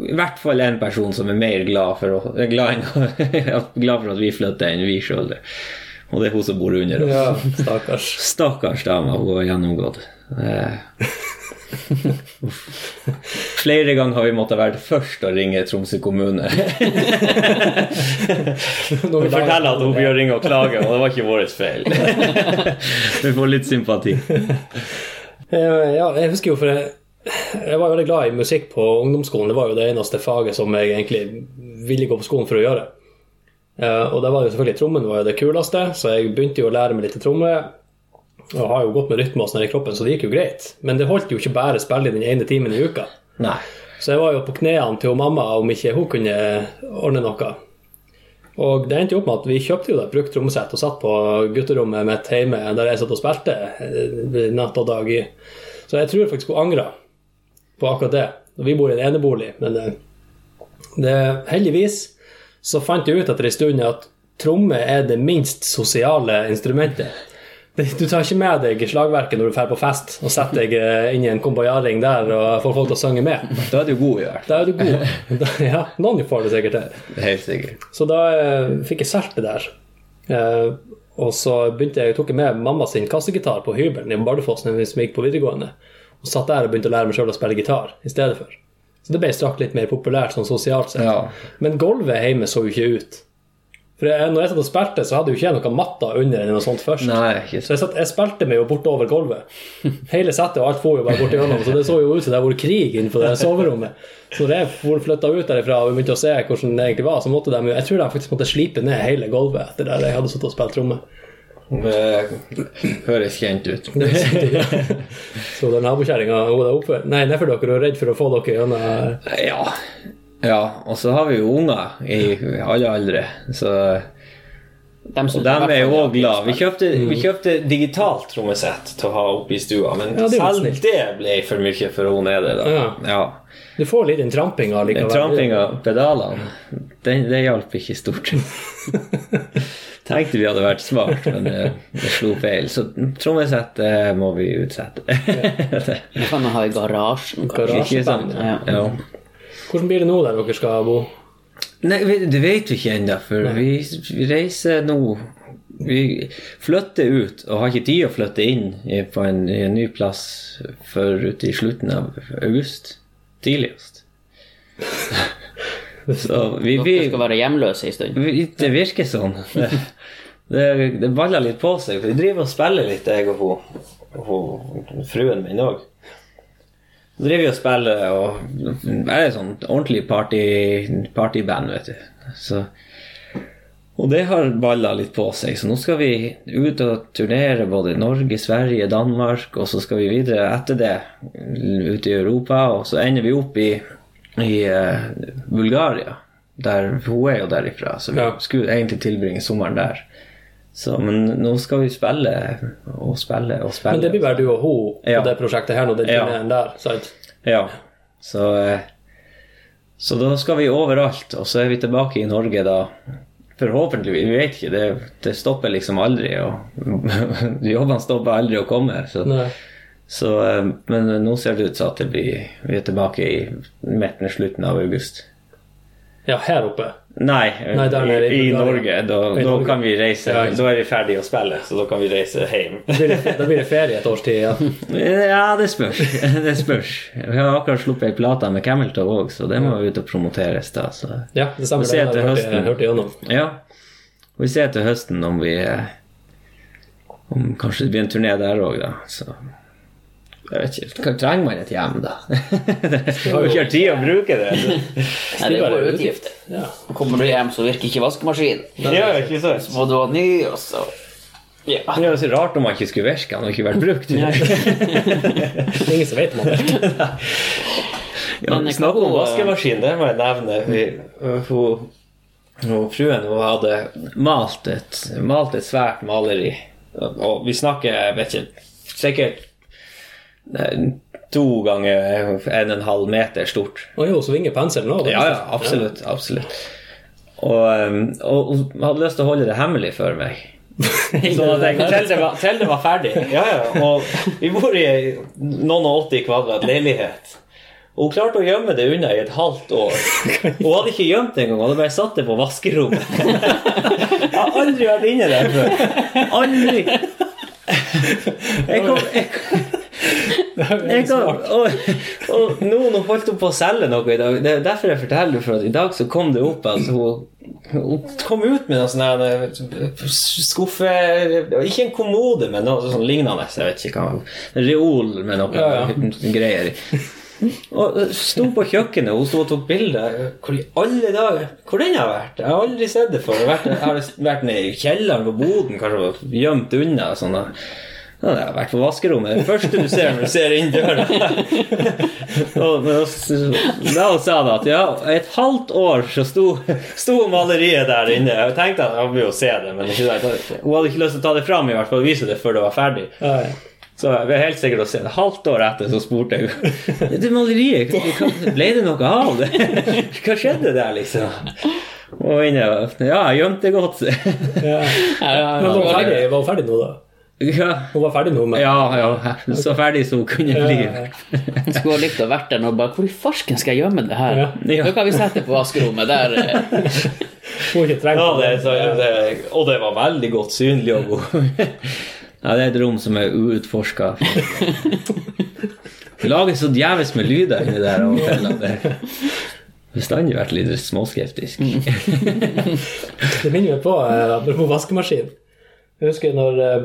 [SPEAKER 3] i hvert fall én person som er mer glad for, å, glad, enn, glad for at vi flytter, enn vi sjøl. Og det er hun som bor under oss.
[SPEAKER 1] Ja, stakkars.
[SPEAKER 3] Stakkars dame, hun har gjennomgått. Eh. Uff. Flere ganger har vi måttet være først å ringe Tromsø kommune.
[SPEAKER 1] Når
[SPEAKER 3] Vi forteller at hun bør ringe og klage, og det var ikke vår feil. Vi får litt sympati.
[SPEAKER 1] Eh, Ja, jeg husker jo for jeg, jeg var jo veldig glad i musikk på ungdomsskolen. Det var jo det eneste faget som jeg egentlig ville gå på skolen for å gjøre. Eh, Og da var det jo selvfølgelig trommen var jo det kuleste, så jeg begynte jo å lære meg litt til tromme. Og har jo gått med rytme og sånn her i kroppen, så det gikk jo greit. Men det holdt jo ikke bare å spille i den ene timen i uka.
[SPEAKER 3] Nei.
[SPEAKER 1] Så jeg var jo på knærne til mamma om ikke hun kunne ordne noe. Og det endte jo opp med at vi kjøpte jo da et brukt trommesett og satt på gutterommet mitt hjemme der jeg satt og spilte eh, natt og dag i. Så jeg tror faktisk hun angra på akkurat det. Og Vi bor i en enebolig, men eh, det, heldigvis så fant jeg ut etter en stund at tromme er det minst sosiale instrumentet. Det- Du tar ikke med deg slagverket når du drar på fest og setter deg eh, inn i en kombajaring der og får folk til å synge med.
[SPEAKER 3] Da er du god, i hvert fall.
[SPEAKER 1] Da er du god. Da, ja, noen får det sikkert til.
[SPEAKER 3] Helt sikkert.
[SPEAKER 1] Så da eh, fikk jeg solgt det der. Eh, og så begynte jeg, tok jeg med mamma sin kassegitar på hybelen i Bardufoss når vi gikk på videregående. Og satt der og begynte å lære meg sjøl å spille gitar i stedet for. Så det ble straks litt mer populært sånn sosialt sett.
[SPEAKER 3] Ja.
[SPEAKER 1] Men gulvet hjemme så jo ikke ut. For jeg, når jeg satt og spilte, så hadde jo ikke jeg noe matta under eller noe sånt først.
[SPEAKER 3] Nei, ikke
[SPEAKER 1] Så jeg, satt, jeg spilte meg jo bortover gulvet. Hele settet og alt for jo bare bort igjennom, så det så jo ut som det var krig inne på det soverommet. Så når jeg flytta ut derifra og vi begynte å se hvordan det egentlig var, så måtte de jo Jeg tror de faktisk måtte slipe ned hele gulvet etter der jeg hadde sittet og spilt tromme.
[SPEAKER 3] Det høres kjent ut.
[SPEAKER 1] Så den nabokjerringa hun der oppe Nei, nedfor dere er redd for å få dere gjennom
[SPEAKER 3] Ja. ja. Og så har vi jo unger i alle aldre. Så
[SPEAKER 2] De synes
[SPEAKER 3] Og
[SPEAKER 2] i hvert
[SPEAKER 3] dem
[SPEAKER 2] fall
[SPEAKER 3] er jo
[SPEAKER 2] det
[SPEAKER 3] òg glad. Vi
[SPEAKER 2] spill.
[SPEAKER 3] kjøpte, vi kjøpte digitalt trommesett til å ha oppe i stua, men
[SPEAKER 1] Ja, det er jo
[SPEAKER 3] selv
[SPEAKER 1] snilt.
[SPEAKER 3] Mm. det ble for mye for hun nede. da.
[SPEAKER 1] Ja.
[SPEAKER 3] Ja.
[SPEAKER 1] Du får litt den trampinga
[SPEAKER 3] Den
[SPEAKER 1] likevel.
[SPEAKER 3] Trampinga, pedalene, den, det hjalp ikke stort. Tenkte vi hadde vært smart, men det, det slo feil. Så trommesettet eh, må vi utsette.
[SPEAKER 2] Det kan man ha i garasjen. kanskje.
[SPEAKER 1] Garasjeband,
[SPEAKER 3] ikke sant?
[SPEAKER 2] ja.
[SPEAKER 3] Ja.
[SPEAKER 1] Hvordan blir det nå der dere skal bo?
[SPEAKER 3] Nei, vi- det vet vi ikke ennå, for vi, vi reiser nå Vi flytter ut og har ikke tid å flytte inn i- på en, i en ny plass før ute i slutten av august. Tidligst. Så vi, vi,
[SPEAKER 2] Dere skal være hjemløse en stund.
[SPEAKER 3] vi Det virker sånn. Det, det, det baller litt på seg. for Vi driver og spiller litt, jeg og hun, hun fruen min òg. Så driver vi og spiller og er et sånn ordentlig party, partyband, vet du. Så, og det har balla litt på seg, så nå skal vi ut og turnere både Norge, Sverige, Danmark, og så skal vi videre etter det ut i Europa, og så ender vi opp i, i eh, Bulgaria. Der, hun er jo derifra, så vi
[SPEAKER 1] Ja.
[SPEAKER 3] skulle egentlig tilbringe sommeren der. Så, men nå skal vi spille og spille og spille.
[SPEAKER 1] Men det blir bare du og hun på
[SPEAKER 3] Ja.
[SPEAKER 1] det prosjektet her nå, den
[SPEAKER 3] Ja.
[SPEAKER 1] turneen der, sant?
[SPEAKER 3] Ja. Så, eh, så da skal vi overalt, og så er vi tilbake i Norge da. Forhåpentligvis. Vi vet ikke. Det, det stopper liksom aldri. Og jobbene stopper aldri å komme. Så,
[SPEAKER 1] Nei.
[SPEAKER 3] så, eh, men nå ser det ut som at det blir, vi er tilbake i midten og slutten av august.
[SPEAKER 1] Ja, her oppe.
[SPEAKER 3] Nei,
[SPEAKER 1] Nei, der nede i
[SPEAKER 3] i, i Norge.
[SPEAKER 1] Bulgaria.
[SPEAKER 3] Da,
[SPEAKER 1] I
[SPEAKER 3] da
[SPEAKER 1] Norge.
[SPEAKER 3] kan vi reise.
[SPEAKER 1] Ja, ikke sant.
[SPEAKER 3] da er vi ferdige å spille, så da kan vi reise hjem.
[SPEAKER 1] Da blir det, da blir det ferie et års tid, ja.
[SPEAKER 3] Ja, det spørs. Det spørs. Vi har akkurat sluppet ei plate med Cameltoe òg, så det må ut og promoteres. da. Så.
[SPEAKER 1] Ja, det stemmer.
[SPEAKER 3] Vi
[SPEAKER 1] Det
[SPEAKER 3] ser
[SPEAKER 1] har
[SPEAKER 3] til
[SPEAKER 1] jeg hørt-
[SPEAKER 3] høsten.
[SPEAKER 1] hørt igjennom.
[SPEAKER 3] Ja. Vi ser til høsten om vi eh, om Kanskje det blir en turné der òg, da. Så. Jeg vet ikke. Hva trenger man et hjem, da? Vi har jo ikke hatt tid å bruke det.
[SPEAKER 2] Nei, det er jo utgift.
[SPEAKER 1] Ja.
[SPEAKER 2] Kommer du hjem, så virker ikke vaskemaskinen.
[SPEAKER 3] Det gjør jo ikke sant.
[SPEAKER 2] Må du ha ny, og så Ja.
[SPEAKER 3] Det er jo så rart om man ikke skulle virke, han har ikke vært brukt.
[SPEAKER 1] Det er ingen som vet om det.
[SPEAKER 3] Ja,
[SPEAKER 2] Men
[SPEAKER 3] snakk
[SPEAKER 2] hva-
[SPEAKER 3] om vaskemaskin, det må jeg nevne. Vi, hun, hun, fruen hun hadde malt et, malt et svært maleri. Og vi snakker, jeg vet ikke, sikkert eh, to ganger en og en halv meter stort.
[SPEAKER 1] Og jo, svinger penselen òg.
[SPEAKER 3] Ja, ja, absolutt. absolutt. Og, eh, og hun hadde lyst til å holde det hemmelig for meg. Sånn at jeg, til, det var, til det var ferdig. Ja, ja. Og vi bor i ei noen og 80 kvadrat leilighet. Og hun klarte å gjemme det unna i et halvt år. Hun hadde ikke gjemt det engang, hun hadde bare satt det på vaskerommet. Jeg har aldri vært inne der før. Aldri. Jeg kom, jeg kom, jeg kom og, og nå, nå holdt hun på å selge noe i dag. Det er derfor jeg forteller for at i dag så kom det opp at hun, hun kom ut med noe sånn her eh, skuffe Ikke en kommode, men noe sånn lignende. Jeg vet ikke hva. En reol med noe
[SPEAKER 1] Ja,
[SPEAKER 3] greier i. Og sto på kjøkkenet, hun sto og tok bilder. Hvor i alle dager Hvor den har vært? Jeg har aldri sett det før. Jeg har vært, jeg har vært nede i kjelleren på boden, kanskje og gjemt unna. Sånn da. Ja, jeg har vært på vaskerommet. Det første du ser når du ser inn døra. Og da s- da sa hun at ja, et halvt år så sto, sto maleriet der inne. Jeg tenkte at jeg ville jo se det, men ikke, hun hadde ikke lyst til å ta det fram i hvert fall og vise det før det var ferdig.
[SPEAKER 1] Ja, ja.
[SPEAKER 3] Så jeg er helt sikker å se det. Halvt år etter så spurte jeg jo Det maleriet, hva- hva- ble det noe av det? Hva skjedde der, liksom? Og inne, ja, jeg gjemte godt.
[SPEAKER 1] Ja.
[SPEAKER 2] Ja, ja,
[SPEAKER 1] Men var hun
[SPEAKER 2] ja.
[SPEAKER 1] ferdig, var hun ferdig nå, da?
[SPEAKER 3] ja,
[SPEAKER 1] Hun var ferdig nå med
[SPEAKER 3] ja, ja. Så ferdig som hun kunne bli.
[SPEAKER 2] Jeg skulle ha likt å vært der nå og bare Hvor i farsken skal jeg gjemme det her?
[SPEAKER 1] Ja.
[SPEAKER 3] Ja.
[SPEAKER 2] Da kan vi sette på vaskerommet der. eh,
[SPEAKER 1] Hun har ikke trengt
[SPEAKER 3] Ja, det, så, det, og det var veldig godt synlig og god. Ja, det er et rom som er uutforska. Det lages så djevelsk med lyder inni der hotellet. Det har Bestandig vært litt småskeptisk.
[SPEAKER 1] Det minner meg på eh, apropos vaskemaskin. Jeg husker når, eh,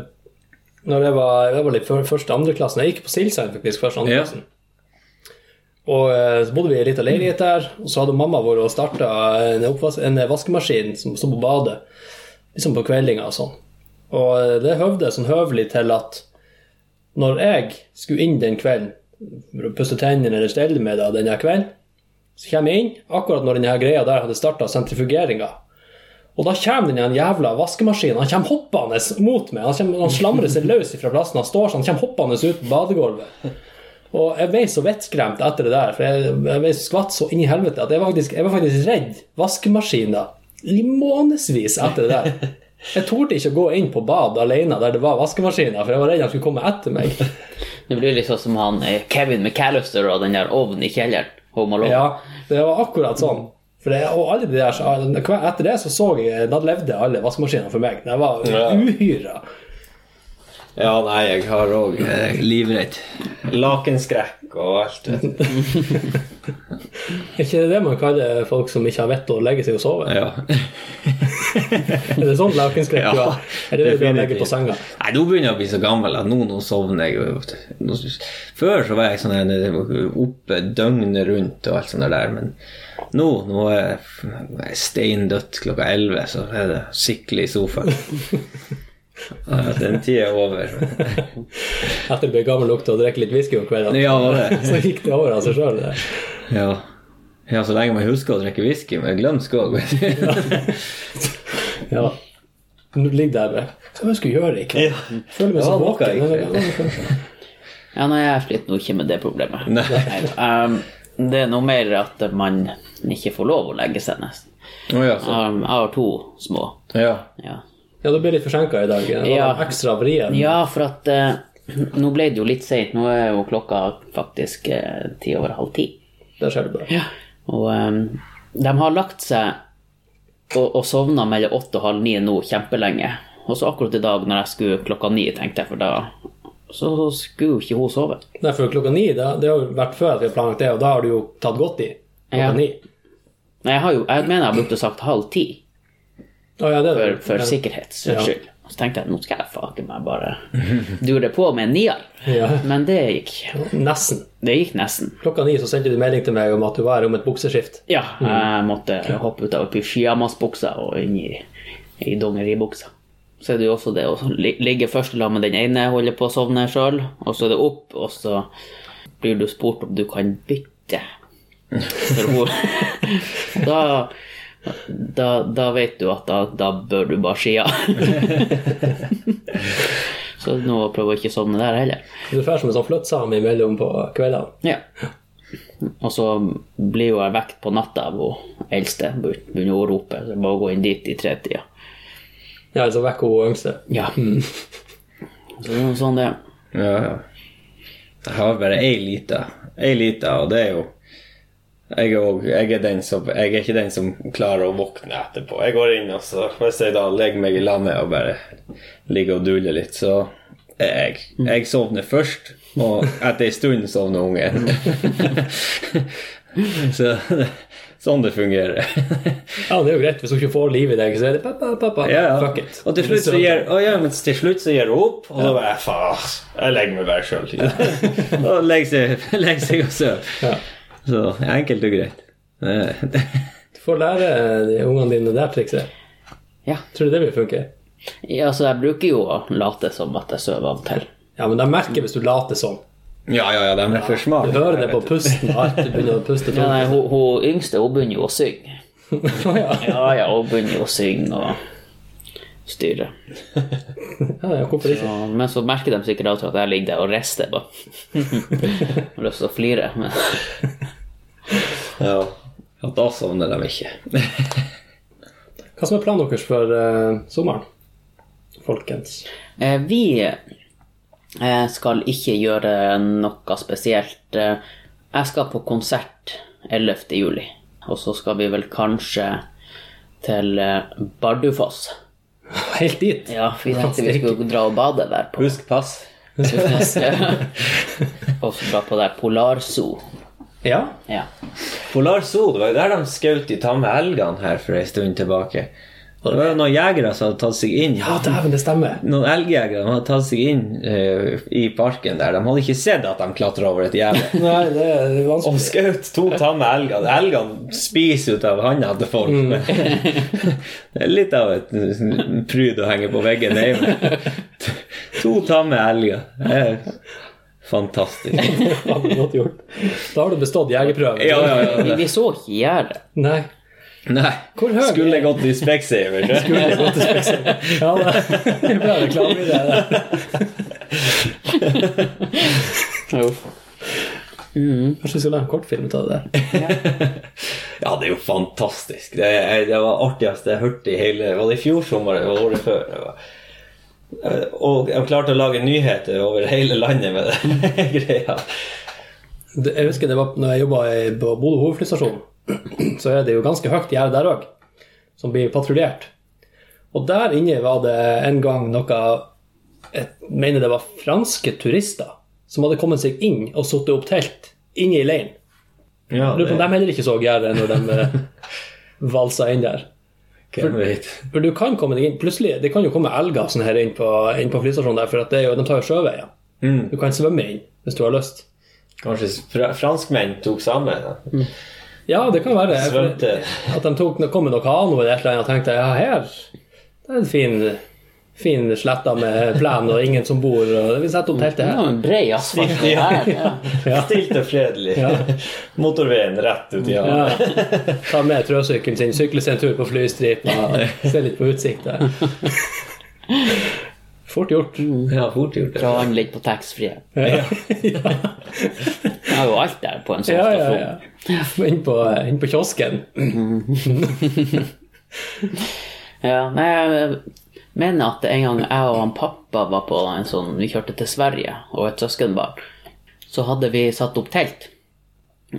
[SPEAKER 1] når jeg var, jeg var litt før, første andre klassen. Jeg gikk på Silsand faktisk først andre
[SPEAKER 3] Ja.
[SPEAKER 1] klassen. Og eh, så bodde vi i ei lita leilighet der, og så hadde mamma vår starta en, oppvas- en vaskemaskin som sto på badet, liksom på kveldinga og sånn. Og eh, det høvde sånn høvelig til at når jeg skulle inn den kvelden, for å pusse tennene eller stelle meg da denne kvelden, så kommer jeg inn akkurat når denne her greia der hadde starta sentrifugeringa. Og da kommer den her jævla vaskemaskinen. Han kommer hoppende mot meg. Han, kommer, han slamrer seg løs fra plassen han står, så han kommer hoppende ut på badegulvet. Og jeg ble så vettskremt etter det der, for jeg, jeg ble skvatt så inn i helvete at jeg var faktisk, jeg var faktisk redd vaskemaskinen i månedsvis etter det der. Jeg torde ikke å gå inn på bad alene der det var vaskemaskiner, for jeg var redd han skulle komme etter meg.
[SPEAKER 2] Det blir litt sånn som han eh, Kevin McAllister og den der ovnen i kjelleren. Home Alone.
[SPEAKER 1] Ja, det var akkurat sånn. For det, og alle de der, så- hver- etter det så så jeg Da levde alle vaskemaskinene for meg. Det var
[SPEAKER 3] Ja.
[SPEAKER 1] uhyra.
[SPEAKER 3] Ja, nei, jeg har òg Eh, livredd. Lakenskrekk og alt. vet du.
[SPEAKER 1] Er ikke det det man kaller folk som ikke har vett å legge seg og sove?
[SPEAKER 3] Ja.
[SPEAKER 1] Er det sånn lakenskrekk du
[SPEAKER 3] Ja,
[SPEAKER 1] har? Er det det du har legget på senga?
[SPEAKER 3] definitivt. Nei, nå begynner jeg å bli så gammel at nå, nå sovner jeg. jo, vet du. Nå, før så var jeg sånn en, oppe døgnet rundt og alt sånt der, men nå, nå er jeg f- jeg er steindødt klokka elleve, så er det skikkelig i sofaen. Ja, Den tida er over.
[SPEAKER 1] Etter å bli gammel lukte og drikke litt whisky om kveldene?
[SPEAKER 3] Ja, var det.
[SPEAKER 1] Så gikk det over av seg sjøl.
[SPEAKER 3] Ja. ja, så lenge man husker å drikke whisky, men glemsk òg, vet du.
[SPEAKER 1] Ja. Nå ligger der med Hva jeg skulle gjøre i kveld? Føler meg så
[SPEAKER 3] Ja, noe i
[SPEAKER 1] våken.
[SPEAKER 2] Ja, nei, jeg sliter nå ikke med det problemet.
[SPEAKER 3] Nei.
[SPEAKER 2] Um, det er noe mer at man ikke får lov å legge seg, nesten.
[SPEAKER 3] Å ja, så.
[SPEAKER 2] Um, jeg har to små.
[SPEAKER 3] Ja.
[SPEAKER 2] Ja,
[SPEAKER 1] Ja, du ble litt forsinka i dag. Det var
[SPEAKER 2] Ja.
[SPEAKER 1] Ekstra vrien.
[SPEAKER 2] ja for at eh, Nå ble det jo litt seint. Nå er jo klokka faktisk eh, ti over halv ti.
[SPEAKER 1] Der ser du bare.
[SPEAKER 2] Ja. Og ehm, de har lagt seg og, og sovna mellom åtte og halv ni nå kjempelenge. Og så akkurat i dag når jeg skulle klokka ni, tenkte jeg, for da så skulle jo ikke hun sove.
[SPEAKER 1] Nei, for klokka ni, da, det har jo vært før at vi har planlagt det, og da har du jo tatt godt i. Klokka
[SPEAKER 2] Ja.
[SPEAKER 1] ni.
[SPEAKER 2] Nei, jeg, har jo, jeg mener jeg burde sagt halv ti
[SPEAKER 1] Å ja, det er det.
[SPEAKER 2] for, for
[SPEAKER 1] Ja.
[SPEAKER 2] sikkerhets
[SPEAKER 1] Ja.
[SPEAKER 2] skyld. Og så tenkte jeg nå skal jeg faken meg bare dure på med en nier.
[SPEAKER 1] Ja.
[SPEAKER 2] Men det gikk.
[SPEAKER 1] Nesten.
[SPEAKER 2] Det gikk nesten.
[SPEAKER 1] Klokka ni så sendte du melding til meg om at du var her om et bukseskift.
[SPEAKER 2] Ja, jeg måtte hoppe ut av pyjamasbuksa og inn i, i dongeribuksa. Så er det jo også det å li- ligge først i lag med den ene, holde på å sovne sjøl, og så er det opp, og så blir du spurt om du kan bytte. For hun da, da, da vet du at da, da bør du bare skia. så nå prøver jeg ikke å sovne der heller.
[SPEAKER 1] Du drar som en sånn fløttsame imellom på kveldene.
[SPEAKER 2] Ja. Og så blir jo jeg vekt på natta av hun eldste. Begynner å rope. Så jeg må gå inn dit i tretida.
[SPEAKER 1] Ja, altså vekk hun yngste.
[SPEAKER 2] Ja. Så det er jo sånn det
[SPEAKER 3] Ja, ja. Jeg har bare ei lita. Ei lita, og det er jo jeg er, også, jeg, er den som, jeg er ikke den som klarer å våkne etterpå. Jeg går inn, og så hvis jeg da legger meg i lag med og bare ligger og duller litt, så er jeg Jeg sovner først, og etter ei stund sovner ungen. så sånn det fungerer.
[SPEAKER 1] Ja, det er jo greit. Hvis hun ikke får liv i deg, så er det pappa, pappa.
[SPEAKER 3] Ja, ja.
[SPEAKER 1] Fuck it.
[SPEAKER 3] Og til slutt så gir å, ja, men til slutt så gir hun opp, og da bare faen, jeg legger meg bare sjøl. og legger seg, legger seg og sover.
[SPEAKER 1] Ja.
[SPEAKER 3] Så enkelt og greit. Eh,
[SPEAKER 1] Du får lære de ungene dine det der trikset.
[SPEAKER 2] Ja.
[SPEAKER 1] Tror du det vil funke?
[SPEAKER 2] ja, så jeg bruker jo å late som at jeg sover av og til. Ja,
[SPEAKER 1] Ja, men de merker hvis du later sånn.
[SPEAKER 3] Ja, ja, ja, de er for
[SPEAKER 1] Du
[SPEAKER 3] smarte.
[SPEAKER 1] hører det på pusten og alt. Du begynner å puste tungt.
[SPEAKER 2] nei, hun, hun yngste hun begynner jo å synge.
[SPEAKER 1] ja.
[SPEAKER 2] Ja, ja, hun begynner jo å synge og styre.
[SPEAKER 1] Ja, ja, hvorfor ikke?
[SPEAKER 2] Og, men så merker de sikkert alltid at jeg ligger der og rister. bare. Har lyst til å flire. Men
[SPEAKER 3] Ja. Ja, da sovner de ikke.
[SPEAKER 1] Hva som er planen deres for eh, sommeren, folkens?
[SPEAKER 2] Eh, Vi eh, skal ikke gjøre noe spesielt. Eh, Jeg skal på konsert 11. juli, og så skal vi vel kanskje til eh, Bardufoss.
[SPEAKER 1] Helt dit?
[SPEAKER 2] Ja, vi tenkte vi skulle dra og bade der på
[SPEAKER 3] Husk pass.
[SPEAKER 2] Sørnes. Og så dra på der Polarzoo.
[SPEAKER 1] Ja.
[SPEAKER 2] Ja.
[SPEAKER 3] Polar Zoo, det var jo der de skjøt de tamme elgene her for en stund tilbake. Og det var jo noen jegere som hadde tatt seg inn.
[SPEAKER 1] Ja, dæven, det stemmer.
[SPEAKER 3] Noen elgjegere de hadde tatt seg inn eh, i parken der. De hadde ikke sett at de klatra over et gjerde.
[SPEAKER 1] Nei, det er
[SPEAKER 3] Og
[SPEAKER 1] vanskelig.
[SPEAKER 3] skjøt to tamme elger. Elgene spiser ut av handa til folk.
[SPEAKER 1] Mm.
[SPEAKER 3] det er litt av et pryd å henge på veggen hjemme. To tamme elger. Det er fantastisk.
[SPEAKER 1] Ja, det er Godt gjort. Da har du bestått jegerprøven.
[SPEAKER 3] Ja, ja, ja.
[SPEAKER 2] Vi, vi så ikke gjerdet.
[SPEAKER 1] Nei.
[SPEAKER 3] Nei.
[SPEAKER 1] Hvor høy er-
[SPEAKER 3] Skulle gått i Specsavers. ja.
[SPEAKER 1] Ja, det det er bra reklame i det. der. Kanskje vi skal lage en kortfilm ut av det der.
[SPEAKER 3] Ja, det er jo fantastisk. Det, er- det var artigste jeg hørte i hele Var det i fjor sommer eller året før? Det var. Eh, Og jeg klarte å lage nyheter over hele landet med det greia.
[SPEAKER 1] Det- Jeg husker det var når jeg jobba på Bodø hovedflystasjon, så er det jo ganske høyt gjerde der òg, som blir patruljert. Og der inne var det en gang noe Jeg mener det var franske turister som hadde kommet seg inn og satt opp telt inne i leiren.
[SPEAKER 3] Ja,
[SPEAKER 1] Lurer på om de
[SPEAKER 3] det,
[SPEAKER 1] heller ikke så gjerdet når de eh, valsa inn der.
[SPEAKER 3] hvem vet.
[SPEAKER 1] For du kan komme deg inn Plutselig, det kan jo komme elger sånn her inn på, inn på flystasjonen der, for at det er jo, de tar jo sjøveier.
[SPEAKER 3] Mm.
[SPEAKER 1] Du kan svømme inn hvis du har lyst.
[SPEAKER 3] Kanskje fra, franskmenn tok sammen? da.
[SPEAKER 1] Ja, det kan være. For-
[SPEAKER 3] Svømte
[SPEAKER 1] At de tok, kom med noe kano eller et eller annet og tenkte ja, her det er en fin, fin sletta med plen og ingen som bor, og vi setter opp teltet
[SPEAKER 2] Det
[SPEAKER 1] her.
[SPEAKER 2] var en brei asfalt
[SPEAKER 3] Ja.
[SPEAKER 2] der. Ja.
[SPEAKER 3] Stilt og fredelig. Motorveien rett ut i havet.
[SPEAKER 1] Ja. Ta med trøsykkelen sin, sykle seg en tur på flystripa, se litt på utsikta. Fort gjort.
[SPEAKER 3] Ja, fort gjort.
[SPEAKER 2] Fra
[SPEAKER 3] det.
[SPEAKER 2] han ligger på taxfree.
[SPEAKER 1] Ja.
[SPEAKER 2] Jeg har jo alt der på en sånn
[SPEAKER 1] Ja, ja,
[SPEAKER 2] stasjon.
[SPEAKER 1] ja. Inn på, inn på kiosken.
[SPEAKER 2] Ja, nei, jeg mener at en gang jeg og han pappa var på en sånn Vi kjørte til Sverige og et søskenbarn. Så hadde vi satt opp telt,